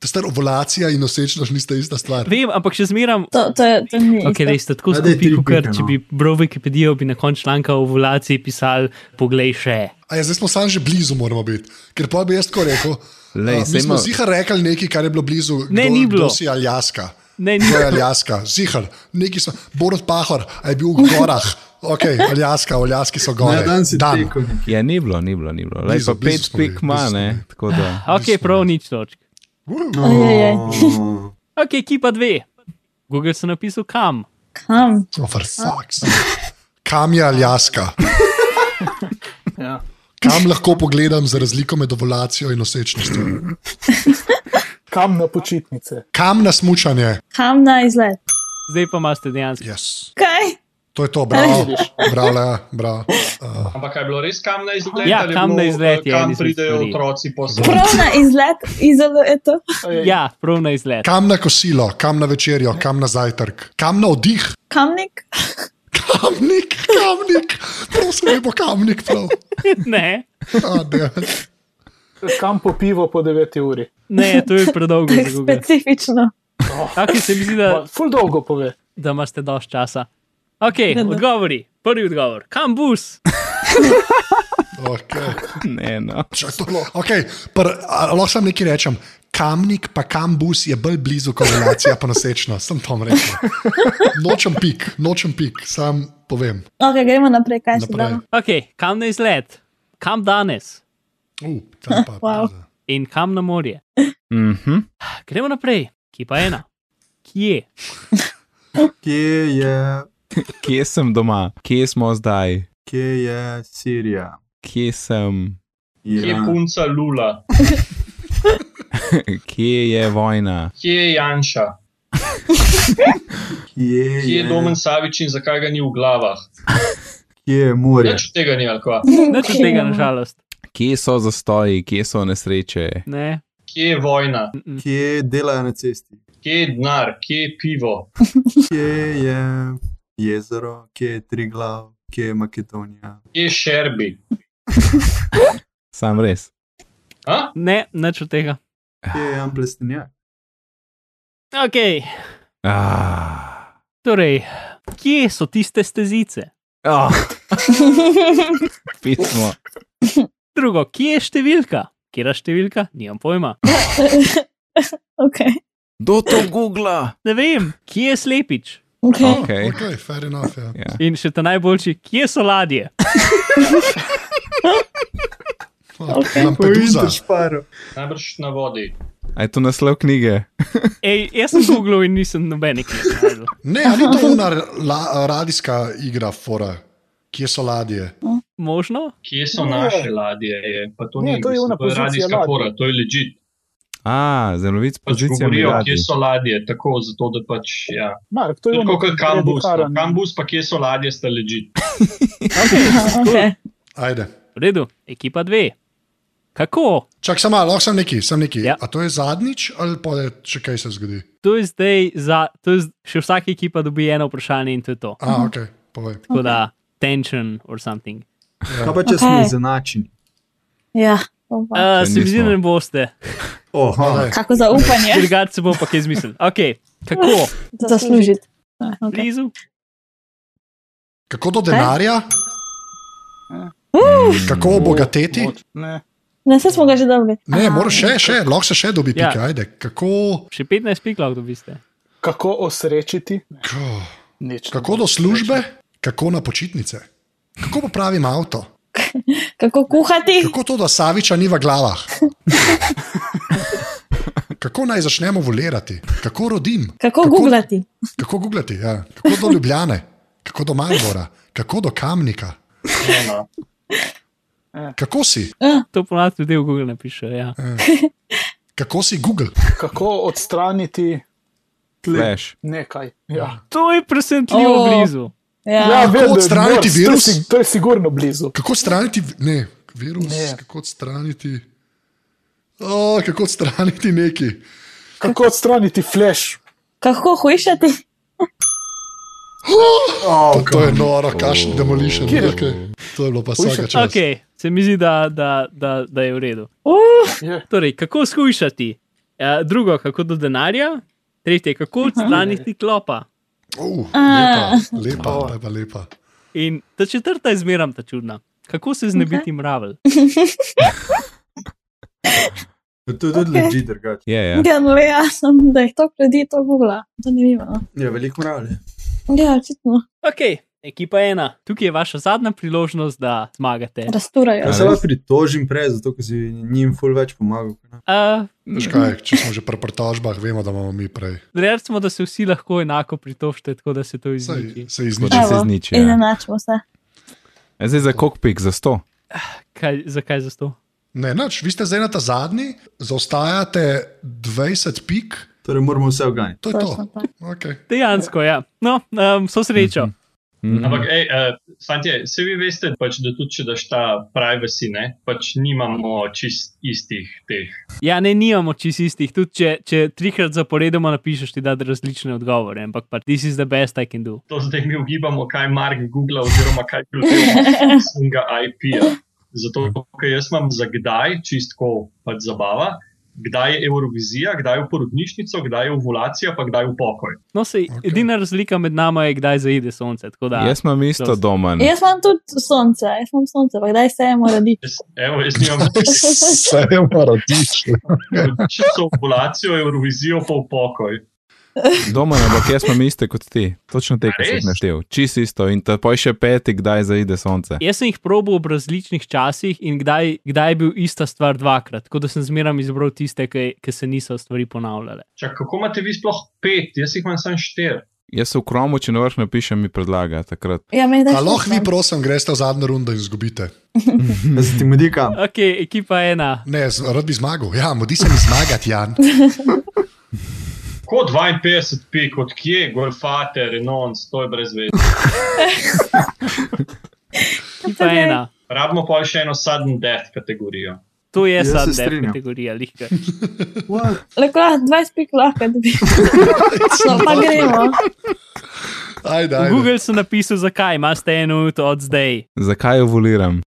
Speaker 3: Ta star ovulacija in nosečnost nista ista stvar.
Speaker 2: Vem, ampak še zmeram.
Speaker 6: To, to, je, to ni.
Speaker 2: Okay,
Speaker 6: isto.
Speaker 2: res, ste tako
Speaker 7: Ja, daj tri
Speaker 2: skupaj, kot
Speaker 7: pike,
Speaker 2: če
Speaker 7: no.
Speaker 2: bi bral Wikipedijo, bi na koncu članka o ovulaciji pisal: Poglej še.
Speaker 3: A ja, zdaj smo sami že blizu, moramo biti. Ker pa bi jaz tako rekel.
Speaker 1: Lej,
Speaker 3: a,
Speaker 1: saj
Speaker 3: mi smo
Speaker 1: ima-
Speaker 3: zihar rekli nekaj, kar je bilo blizu.
Speaker 2: Ne,
Speaker 3: kdo,
Speaker 2: ni bilo.
Speaker 3: Kdo si Aljaska.
Speaker 2: Ne, ni
Speaker 3: To je
Speaker 2: bilo.
Speaker 3: Aljaska, zihar. Neki smo, Borod Pahor, a je bil v gorah. Ok, Aljaska, Aljaski so gore.
Speaker 7: Ne, Ja, dan si
Speaker 3: Dan.
Speaker 7: tekel. nekaj.
Speaker 1: Ja, ni bilo, ni bilo, ni bilo. Lej,
Speaker 3: Blizu,
Speaker 1: pa
Speaker 3: blizu
Speaker 1: pet
Speaker 3: smo bili,
Speaker 1: pik ima,
Speaker 3: blizu smo
Speaker 1: ne.
Speaker 3: bili.
Speaker 1: Tako da.
Speaker 2: Ok, prav nič točk.
Speaker 6: Ojejej.
Speaker 7: Oh.
Speaker 2: Ok, ekipa dve. Google sem napisal kam.
Speaker 6: Kam?
Speaker 3: Oh, for fuck's sake. Kam je Aljaska?
Speaker 5: Ja.
Speaker 3: Kam lahko pogledam za razliko med ovulacijo in nosečnostjo?
Speaker 5: Kam na počitnice?
Speaker 3: Kam na smučanje?
Speaker 6: Kam na izlet?
Speaker 2: Zdaj pa imate dejansko.
Speaker 3: Yes.
Speaker 6: Kaj?
Speaker 3: To je to, bravo. Bravo, Lea, bravo. Uh,
Speaker 9: Ampak kaj je bilo res kam na izlet?
Speaker 2: Ja,
Speaker 9: ali je
Speaker 2: kam
Speaker 9: bilo,
Speaker 2: na izlet je
Speaker 9: eh, Kam
Speaker 2: ena izmed
Speaker 9: pridejo
Speaker 2: stvari.
Speaker 9: otroci po svetu?
Speaker 6: Prav na izlet, izoluje to.
Speaker 2: Ja, prav na izlet.
Speaker 3: kam na kosilo, kam na večerjo, kam na zajtrk, kam na oddih,
Speaker 6: Kamnik?
Speaker 3: kamnik, kamnik, prosim, ne bo kamnik prav.
Speaker 2: Ne,
Speaker 3: A, ne.
Speaker 5: Kam po pivo po 9 uri?
Speaker 2: ne, to je predolgo.
Speaker 6: Tak
Speaker 2: za Google.
Speaker 6: specifično.
Speaker 2: Tako se mi zdi, da,
Speaker 5: Ma, Ful dolgo pove.
Speaker 2: da imate dosti časa. Ok, odgovori. Prvi odgovor. Kam bus?
Speaker 3: Okay.
Speaker 1: Ne, no.
Speaker 3: Čak, to, okay. Pr, a, lahko sam nekaj rečem. Kamnik pa kambus je bolj blizu korelacija pa nosečnost, sem tam rekel. Nočem pik, nočem pik, sam povem.
Speaker 6: Ok, gremo naprej, kaj še
Speaker 3: Naprej.
Speaker 6: damo.
Speaker 2: Ok, kam na izlet? Kam danes?
Speaker 3: Uh, tam pa,
Speaker 6: Wow.
Speaker 2: In kam na morje?
Speaker 1: Mhm.
Speaker 2: Gremo naprej. Ki pa ena. Kje?
Speaker 7: Kje je,
Speaker 1: Kje sem doma? Kje smo zdaj?
Speaker 7: kje je Sirija? Ja,
Speaker 1: Kje sem?
Speaker 9: Kje je
Speaker 7: Iran.
Speaker 9: punca Lula?
Speaker 1: Kje je vojna?
Speaker 9: Kje je Janša?
Speaker 7: Kje je,
Speaker 9: Kje je Domen Savič in zakaj ga ni v glavah?
Speaker 7: Kje je morje?
Speaker 9: Nič od tega ni ali kva.
Speaker 2: Nič od tega, nažalost.
Speaker 1: Kje so zastoji, kje so nesreče?
Speaker 2: Ne.
Speaker 9: Kje je vojna?
Speaker 7: Kje delajo na cesti?
Speaker 9: Kje je denar? Kje je pivo?
Speaker 7: Kje je jezero, kje je Triglav, kje je Makedonija?
Speaker 9: Kje je šerbi?
Speaker 1: Sam res.
Speaker 9: Ha?
Speaker 2: Ne, nič od tega.
Speaker 7: Kje je en plestenjak?
Speaker 2: Ok,
Speaker 1: Ah.
Speaker 2: torej, kje so tiste stezice?
Speaker 1: Oh. Pismo.
Speaker 2: Drugo, kje je številka? Kjera številka? Nimam pojma.
Speaker 6: Ok,
Speaker 1: Do to Google.
Speaker 2: Ne vem, kje je slepič.
Speaker 6: ok.
Speaker 1: Okay.
Speaker 3: Okay, fair enough. Ja.
Speaker 1: Ja.
Speaker 2: In še ta najboljši, kje so ladje?
Speaker 3: Okay. Lampedusa.
Speaker 7: šparo.
Speaker 9: Najbrž na vodi.
Speaker 1: A je to naslov knjige?
Speaker 2: Ej, jaz sem googlil in nisem nobenih. našel.
Speaker 3: Ne, ali to je ona la, radijska igra, fora, kje so ladje.
Speaker 2: Možno?
Speaker 9: Kje so naše ladje? Je? Pa to
Speaker 5: Ne,
Speaker 9: ni
Speaker 5: to je
Speaker 9: mislim,
Speaker 5: ona
Speaker 9: to je
Speaker 5: pozicija
Speaker 9: radijska
Speaker 5: ladij.
Speaker 9: fora, to je ležit.
Speaker 1: A, zemljevid s
Speaker 9: Pač
Speaker 1: pozicijami.
Speaker 9: govorijo,
Speaker 1: radi.
Speaker 9: kje so ladje, tako zato, da pač. Ja.
Speaker 5: Mark, to je
Speaker 9: Tako
Speaker 5: ono,
Speaker 9: kot
Speaker 4: no.
Speaker 5: kar je
Speaker 9: kambus.
Speaker 5: Karan.
Speaker 9: Kambus pa kje so ladje, sta ležit.
Speaker 6: okay.
Speaker 3: Ajde.
Speaker 2: V redu, ekipa dve. Kako?
Speaker 3: Čak sem malo, lahko sem neki, sem neki.
Speaker 2: Ja.
Speaker 3: Ja. A to je zadnjič ali pa je še kaj se zgodi?
Speaker 2: To je zdaj za, to je z- še vsaka ekipa dobi eno vprašanje in to je to.
Speaker 7: Mhm.
Speaker 3: A, ok, povej. Ja.
Speaker 2: Tako da, tension or something.
Speaker 7: Kaj pa če smo
Speaker 6: Okej.
Speaker 7: izenačeni?
Speaker 6: Ja, to pa.
Speaker 2: Uh,
Speaker 1: To
Speaker 2: se mi zdi,
Speaker 1: nismo.
Speaker 2: da ne boste.
Speaker 7: Oha,
Speaker 6: Kako zaupanje
Speaker 2: Drugače se bo pa kaj izmislil. Ok, kako?
Speaker 6: zaslužiti. Ah, Okay.
Speaker 2: Blizu?
Speaker 3: Kako do denarja?
Speaker 1: Hmm,
Speaker 3: Kako obogateti?
Speaker 5: Ne.
Speaker 6: Ne, vse smo ga že dobili.
Speaker 3: Ne, moraš še, še, lahko se še dobi,
Speaker 2: Ja.
Speaker 3: pika, ajde. Kako,
Speaker 2: Še 15 pik lahko dobiste.
Speaker 5: Kako osrečiti?
Speaker 3: ko-
Speaker 5: Nič.
Speaker 3: kako do službe? Kako na počitnice? Kako popravim avto?
Speaker 6: Ah, Kako kuhati?
Speaker 3: Kako to, da Saviča ni v glavah? Kako naj začnemo volirati? Kako rodim?
Speaker 6: Kako googlati?
Speaker 3: Kako googlati? Ja. Kako do Ljubljane? Kako do Maribora? Kako do Kamnika?
Speaker 4: Eno.
Speaker 3: Kako si?
Speaker 2: To ponad ljudje v Google napiše. Ja.
Speaker 3: Kako si Google?
Speaker 5: Kako odstraniti
Speaker 1: Flash.
Speaker 5: nekaj? Ja,
Speaker 2: To je presenetljivo
Speaker 6: O.
Speaker 2: oh. blizu.
Speaker 6: Ja.
Speaker 5: vedno je
Speaker 3: odstraniti
Speaker 5: nors, to
Speaker 3: virus?
Speaker 5: si- To je sigurno blizu.
Speaker 3: Kako odstraniti vi- ne, virus? Ne.
Speaker 5: Ne.
Speaker 3: Kako odstraniti? O, kako odstraniti neki? Ja.
Speaker 5: Kako odstraniti flash?
Speaker 6: Kako hujšati?
Speaker 3: To, to je noro, kašni demolition. Okay. To je bilo pa vsaka čas.
Speaker 2: Okay, se mi zdi, da, da, da, da je v redu.
Speaker 5: Je.
Speaker 2: Torej, kako skušati? E, drugo, kako do denarja, tretje,
Speaker 6: Mhm.
Speaker 2: kako odstraniti klopa.
Speaker 3: Uh, lepa, lepa, lepa, lepa.
Speaker 2: In ta četrta je zmeraj ta čudna. Kako se znebiti okay. mravelj?
Speaker 7: To je tudi
Speaker 6: Okej.
Speaker 7: leži drugače.
Speaker 1: Ja, ja.
Speaker 6: Ja, no, le, ja, sem, da je to ljudi to googla. To ne vem. no.
Speaker 7: Ja, veliko mravlje.
Speaker 6: Ja, očitno
Speaker 2: Ok, ekipa ena. Tukaj je vaša zadnja priložnost, da zmagate.
Speaker 3: Ja.
Speaker 6: rasturajo.
Speaker 7: Jaz se lahko pritožim prej, zato ker si njim ful več pomagal.
Speaker 2: Uh,
Speaker 3: Veš kaj, če smo že pri pritožbah, vemo, da imamo mi prej.
Speaker 2: Rečemo, da se vsi lahko enako pritožite, tako da se to
Speaker 3: Saj,
Speaker 2: izniči.
Speaker 3: se
Speaker 1: Tako da
Speaker 3: izniči.
Speaker 6: Evo,
Speaker 1: se zniči. ja.
Speaker 6: Izenačimo se.
Speaker 1: Ja, Zdaj za kokpik, za sto.
Speaker 2: Kaj, zakaj za to?
Speaker 3: Ne, nič, vi ste zdaj na ta zadnji, zaostajate 20 pik,
Speaker 7: Torej moramo vse oganiti.
Speaker 3: to je
Speaker 6: Točno
Speaker 3: to.
Speaker 6: tako.
Speaker 3: Okay.
Speaker 2: Dejansko, ja. No, um, so srečo.
Speaker 1: Hmm.
Speaker 4: Ampak, ej, eh, fantje, se vi veste, pač, da tudi če daš ta privacy, ne, pač nimamo čist istih teh.
Speaker 2: Ja, ne, nimamo čist istih. Tudi če, če trikrat zaporedoma napišeš, ti da različne odgovore, ampak pa this is the best I can do.
Speaker 4: To zdaj mi ugibamo, kaj Mark Google oziroma kaj prevzema iz svojega IP-ja. Zato, ker jaz imam za kdaj, čistko pač zabava, kdaj je Eurovizija, kdaj je v porodnišnico, kdaj je ovulacija, pa kdaj je v pokoj.
Speaker 2: No, se okay. edina razlika med nama je, kdaj zaide sonce. tako Da,
Speaker 1: Jaz imam isto
Speaker 2: Dosti.
Speaker 1: doma.
Speaker 6: Jaz imam tudi sonce, jaz imam sonce, pa kdaj se je mora diti.
Speaker 4: Jaz, evo, jaz nimam
Speaker 10: Vse je moratično.
Speaker 4: časa ovulacijo, Eurovizijo, pa v pokoj.
Speaker 1: Doma, ampak jaz imam iste kot ti. Točno te, ki si jih
Speaker 4: Res?
Speaker 1: naštel. Čist isto. In ta poj še peti, kdaj zaide sonce.
Speaker 2: Jaz sem jih probil ob različnih časih in kdaj, kdaj je bil ista stvar dvakrat, tako da sem zmeraj izbral tiste, ki, ki se niso stvari ponavljale.
Speaker 4: Čak, kako imate vi sploh pet, jaz jih imam samo štiri.
Speaker 1: Jaz se v kromu, če na vrh napišem, mi predlaga takrat.
Speaker 6: Ja, meni da
Speaker 3: A lahko vi, prosim, greste v zadnjo rundo in izgubite.
Speaker 7: Da se ti mudi kam.
Speaker 2: Ok, ekipa ena.
Speaker 3: Ne, z- rad bi zmagal. Ja, modi se mi zmagati, Jan.
Speaker 4: Kot 52 pik, od kje, golfate, renons, to je brez veze.
Speaker 2: Ekipa ena.
Speaker 4: Rabimo pa še eno sudden death kategorijo.
Speaker 2: To je
Speaker 7: Jaz se
Speaker 2: sad death
Speaker 7: strinjam.
Speaker 2: kategorija, lihka.
Speaker 6: Lahko 20 ah, pik lahko dobi. No, pa gremo.
Speaker 3: Ajde,
Speaker 2: V
Speaker 3: ajde.
Speaker 2: Google sem napisal, zakaj imaš eno minuto od zdaj.
Speaker 1: Zakaj jo voliram?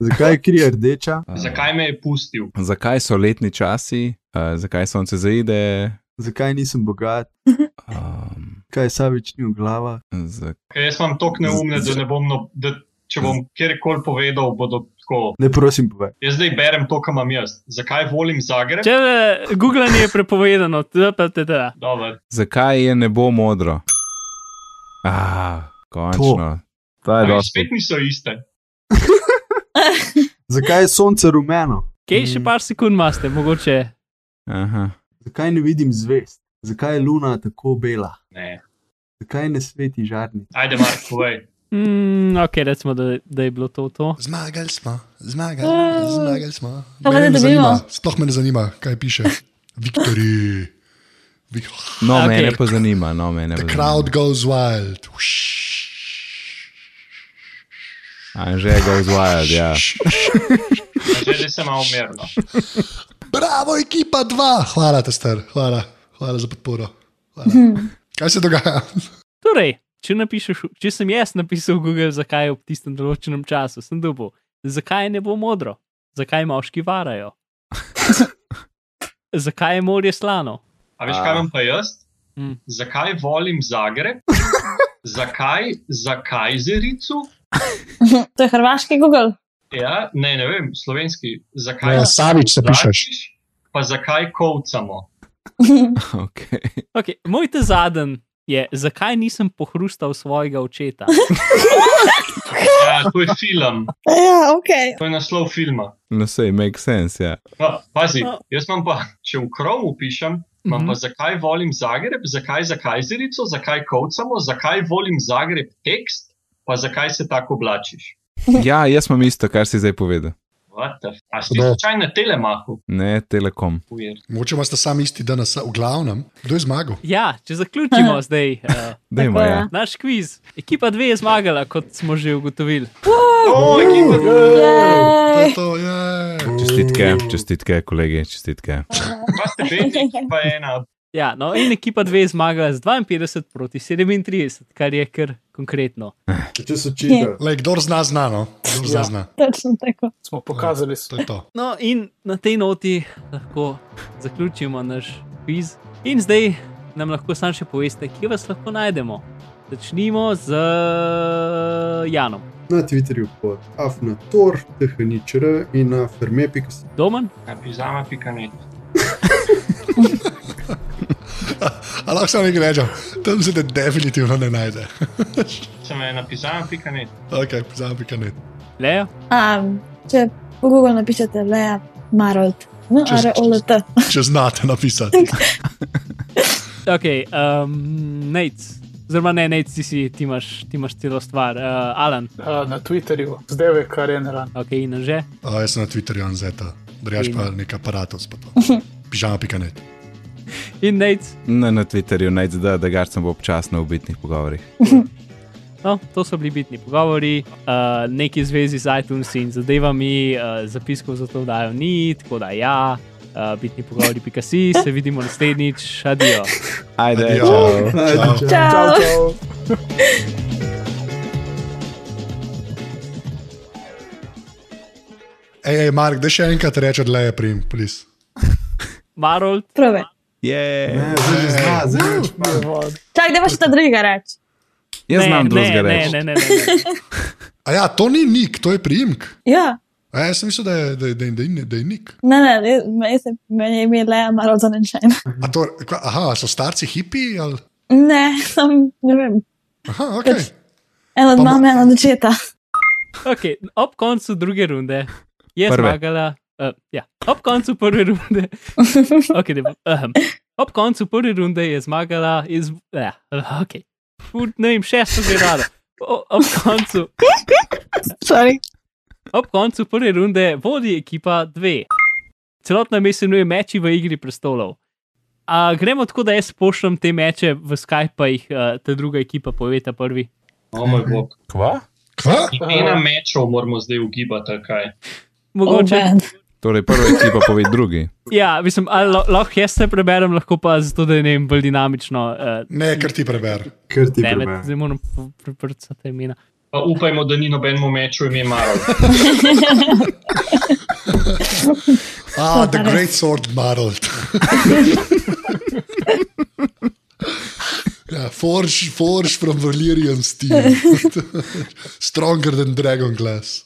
Speaker 7: Zakaj je kri rdeča?
Speaker 4: Zakaj me je pustil?
Speaker 1: Eh, Zakaj so letni časi, uh, zakaj sonce zaide,
Speaker 7: Zakaj nisem bogat?
Speaker 1: um,
Speaker 7: Kaj Savič ni v glava?
Speaker 1: za,
Speaker 4: Ker jaz imam tok neumne, da ne bom, no, da če bom kjerkoli povedal, bodo tako.
Speaker 7: Ne prosim, povej.
Speaker 4: Jaz zdaj berem to, kar imam jaz. Zakaj volim Zagreb?
Speaker 2: Če eh, googlanje je prepovedano, tptd.
Speaker 4: Dobar.
Speaker 1: zakaj je nebo modro. Ah, končno. To, to je
Speaker 4: Ali
Speaker 1: Ja, dosti.
Speaker 4: spet niso iste.
Speaker 7: Zakaj je sonce rumeno?
Speaker 2: Kje še par sekund imaš, mogoče.
Speaker 1: Aha.
Speaker 7: Zakaj ne vidim zvest? Zakaj je luna tako bela?
Speaker 4: Ne.
Speaker 7: Zakaj ne sveti žarni?
Speaker 4: Ajde, Mark, povej.
Speaker 2: Mm, ok, recimo, da, da je bilo to to.
Speaker 3: Zmagali smo, zmagali,
Speaker 6: Mm.
Speaker 3: zmagali smo.
Speaker 6: Pa
Speaker 3: Mene
Speaker 6: ne
Speaker 3: ne
Speaker 6: dobimo.
Speaker 3: zanima, sploh me ne zanima, kaj piše. Victory. Vic-
Speaker 1: No,
Speaker 2: Okej.
Speaker 1: okay. mene pa zanima. No, mene pa
Speaker 3: The
Speaker 1: zanima.
Speaker 3: crowd goes wild.
Speaker 1: Anže ga vzvaja, ja.
Speaker 4: Že zdaj sem malo umirno.
Speaker 3: Bravo, ekipa 2. Hvala, tester, hvala, hvala za podporo. Hvala. Kaj se dogaja?
Speaker 2: Torej, če, napišeš, če sem jaz napisal v Google, zakaj je ob tistem določenem času, sem dobil. Zakaj ne bo modro, zakaj moški varajo, zakaj je morje slano.
Speaker 4: A veš, kaj imam pa jaz?
Speaker 2: Mm.
Speaker 4: Zakaj volim Zagreb? Zakaj za Kajzericu?
Speaker 6: To je hrvaški Google.
Speaker 4: Ja, ne, ne vem, slovenski. Zakaj
Speaker 10: Ja, Savič se pišeš.
Speaker 4: Lačiš, Pa zakaj kovcamo?
Speaker 1: Okay.
Speaker 2: Okay, moj te zadnji je, zakaj nisem pohrustal svojega očeta.
Speaker 4: Ja, to je film,
Speaker 6: Ja, ok.
Speaker 4: to je naslov filma.
Speaker 1: No, sej, make sense, ja.
Speaker 4: No, pazi, jaz imam pa, če v krov upišem, imam pa zakaj volim Zagreb, zakaj za kajzerico, zakaj kavcamo, zakaj volim Zagreb tekst, pa zakaj se tako oblačiš.
Speaker 1: Ja, jaz imam isto, kar si zdaj povedal.
Speaker 4: What the f- A si
Speaker 11: Da.
Speaker 4: slučaj na telemaku?
Speaker 1: Ne, Telekom.
Speaker 4: Weird.
Speaker 3: Moče imate sam isti danes, v glavnem. Kdo je zmagal?
Speaker 2: Ja, če zaključimo zdaj uh,
Speaker 1: Dajmo,
Speaker 6: Tako,
Speaker 1: ja.
Speaker 6: ja.
Speaker 2: naš kviz. Ekipa 2 je zmagala, kot smo že ugotovili.
Speaker 4: O, ekipa
Speaker 3: To
Speaker 6: Yay.
Speaker 3: je to, je.
Speaker 1: Čestitke, čestitke, kolegi, čestitke.
Speaker 4: dva ste vedni, ekipa ena.
Speaker 2: Ja, no, in ekipa 2 je zmagala z 52 proti 37, kar je kar konkretno.
Speaker 7: Če so čitali.
Speaker 3: Lej, kdor zna, znano. Kdor zna,
Speaker 5: Ja.
Speaker 3: zna.
Speaker 6: Točno tako.
Speaker 5: Smo pokazali, s-
Speaker 3: To je to.
Speaker 2: No, in na tej noti lahko zaključimo naš kviz. In zdaj nam lahko samo še poveste, kje vas lahko najdemo. Začnimo z Janom,
Speaker 7: Na Twitterju pod afnator, thničr in na ferme.com.
Speaker 2: domen,
Speaker 4: Pizama, pika ne.
Speaker 3: A lahko samo nekaj rečem, tam se te definitivno ne najde.
Speaker 4: Sem ena pizama, pika ne.
Speaker 3: Ok, zabi kaj ne.
Speaker 2: Leja,
Speaker 6: Um, če po Google napišete Lea Marold, no,
Speaker 3: Čez-
Speaker 6: R-O-L-T.
Speaker 3: Če znate napisati.
Speaker 2: ok, um, Nate. Oziroma, ne, ne, ti, si- ti, imaš, ti imaš celo stvar, uh, Alan,
Speaker 5: a, na Twitterju, zdaj ve, kar je naran.
Speaker 2: ok, in že.
Speaker 3: A, jaz sem na Twitterju Anzeta, drugač pa nek aparatus. pa to. Pižama.net.
Speaker 2: In Nate,
Speaker 1: Na, na Twitterju najdete, da, da garcem bo občasno v bitnih pogovorih.
Speaker 2: no, to so bili bitni pogovori, uh, neki zvezi z iTunes in zadevami, uh, zapiskov za to dajo ni, tako da ja, uh, bitni pogovori, pika si, se vidimo naslednjič, adijo.
Speaker 1: Ajde,
Speaker 3: Adijo.
Speaker 1: čau.
Speaker 3: Čau.
Speaker 5: Čau,
Speaker 6: Ciao.
Speaker 5: čau.
Speaker 3: Ej, ej, Mark, da še enkrat rečeš, da je prim, plis.
Speaker 2: Marold,
Speaker 6: Prve.
Speaker 1: Yeah.
Speaker 7: Ne, zdaj že zna, zdaj že špa.
Speaker 6: Čak, da pa še ta druga reč.
Speaker 1: Jaz znam drugega
Speaker 2: ne,
Speaker 1: reči.
Speaker 2: ne, ne, ne, ne.
Speaker 3: A ja, to ni nik, to je primek.
Speaker 6: Ja,
Speaker 3: A jaz sem mislil, da je, da, je- da, je- da, je- da je nik.
Speaker 6: ne, ne, jaz- meni se- meni je ime Lea Marold zanečen.
Speaker 3: A to, kva, aha, so starci hipi? Ali?
Speaker 6: Ne, sem, ne vem.
Speaker 3: Aha, ok.
Speaker 6: Eno od
Speaker 3: Pa ma-
Speaker 6: mame, eno od očeta.
Speaker 2: Okay, ob koncu druge runde je
Speaker 1: Prve.
Speaker 2: zmagala. Uh, ja, ob koncu prve runde. Okay, ne, bom, ehem. ob koncu prve runde je zmagala iz. Ja, okay. Fut, ne vem, šesto gledala. Ob koncu,
Speaker 6: Sorry.
Speaker 2: ob koncu prve runde vodi ekipa dve. Celotna mesta nuje meči v igri prestolov. A gremo tako, da jaz pošljem te meče v Skype, pa jih uh, ta druga ekipa poveta prvi.
Speaker 4: O moj bog.
Speaker 1: Kva?
Speaker 3: Kva?
Speaker 4: Imena mečev moramo zdaj ugibati, ali kaj.
Speaker 2: Mogoče.
Speaker 6: Oh, man.
Speaker 1: Torej, prva ekipa pove drugi.
Speaker 2: Ja, mislim, ali lo- lahko jaz se preberem, lahko pa zato, da je, ne vem, bolj dinamično. Uh,
Speaker 3: Ne, ker ti preber.
Speaker 7: Ker ti
Speaker 2: ne,
Speaker 7: prebe.
Speaker 2: zdaj moram preprcati imena.
Speaker 4: Pa upajmo, da ni nobenemu meču ime Maro.
Speaker 3: Ah, the great sword Marold. ja, forge, forge from Valyrian steel. Stronger than dragon glass.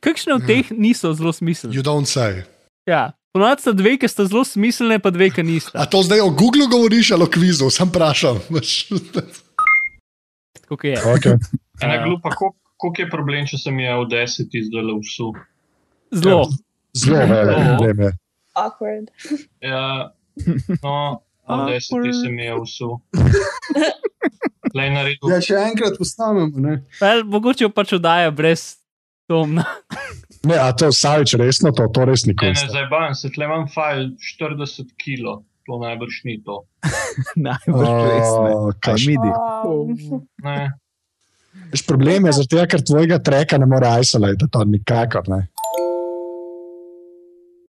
Speaker 2: Kakšne od teh niso zelo
Speaker 3: You
Speaker 2: smiselne?
Speaker 3: don't say.
Speaker 2: Ja, ponovadi sta dve, ki sta zelo smiselne, pa dve, ki
Speaker 3: A
Speaker 2: nista.
Speaker 3: to zdaj o Googlu govoriš ali o kvizu, sam vprašam. veš.
Speaker 2: Tako kot je.
Speaker 11: Okay.
Speaker 4: Ena glupa, koliko je problem, če sem je v deset izdala v su.
Speaker 2: Zelo.
Speaker 11: Zelo velik problem je.
Speaker 6: Awkward.
Speaker 4: Ja, no, v deset sem je v su. Le na redu.
Speaker 7: Ja, še enkrat postavljamo, ne.
Speaker 2: Well, mogoče jo pač oddaja brez domna.
Speaker 11: Ne, a to Savič resno, to, to res
Speaker 4: Ne,
Speaker 3: Ja,
Speaker 11: nikoli.
Speaker 4: ne, zdaj ban, se tle imam fajl 40 kg, to najbrž ni to.
Speaker 1: Najbolj
Speaker 11: kaj še?
Speaker 1: midi.
Speaker 4: Ne.
Speaker 11: Problem je, zato, ker tvojega treka ne more isolirati, to nikakor ne.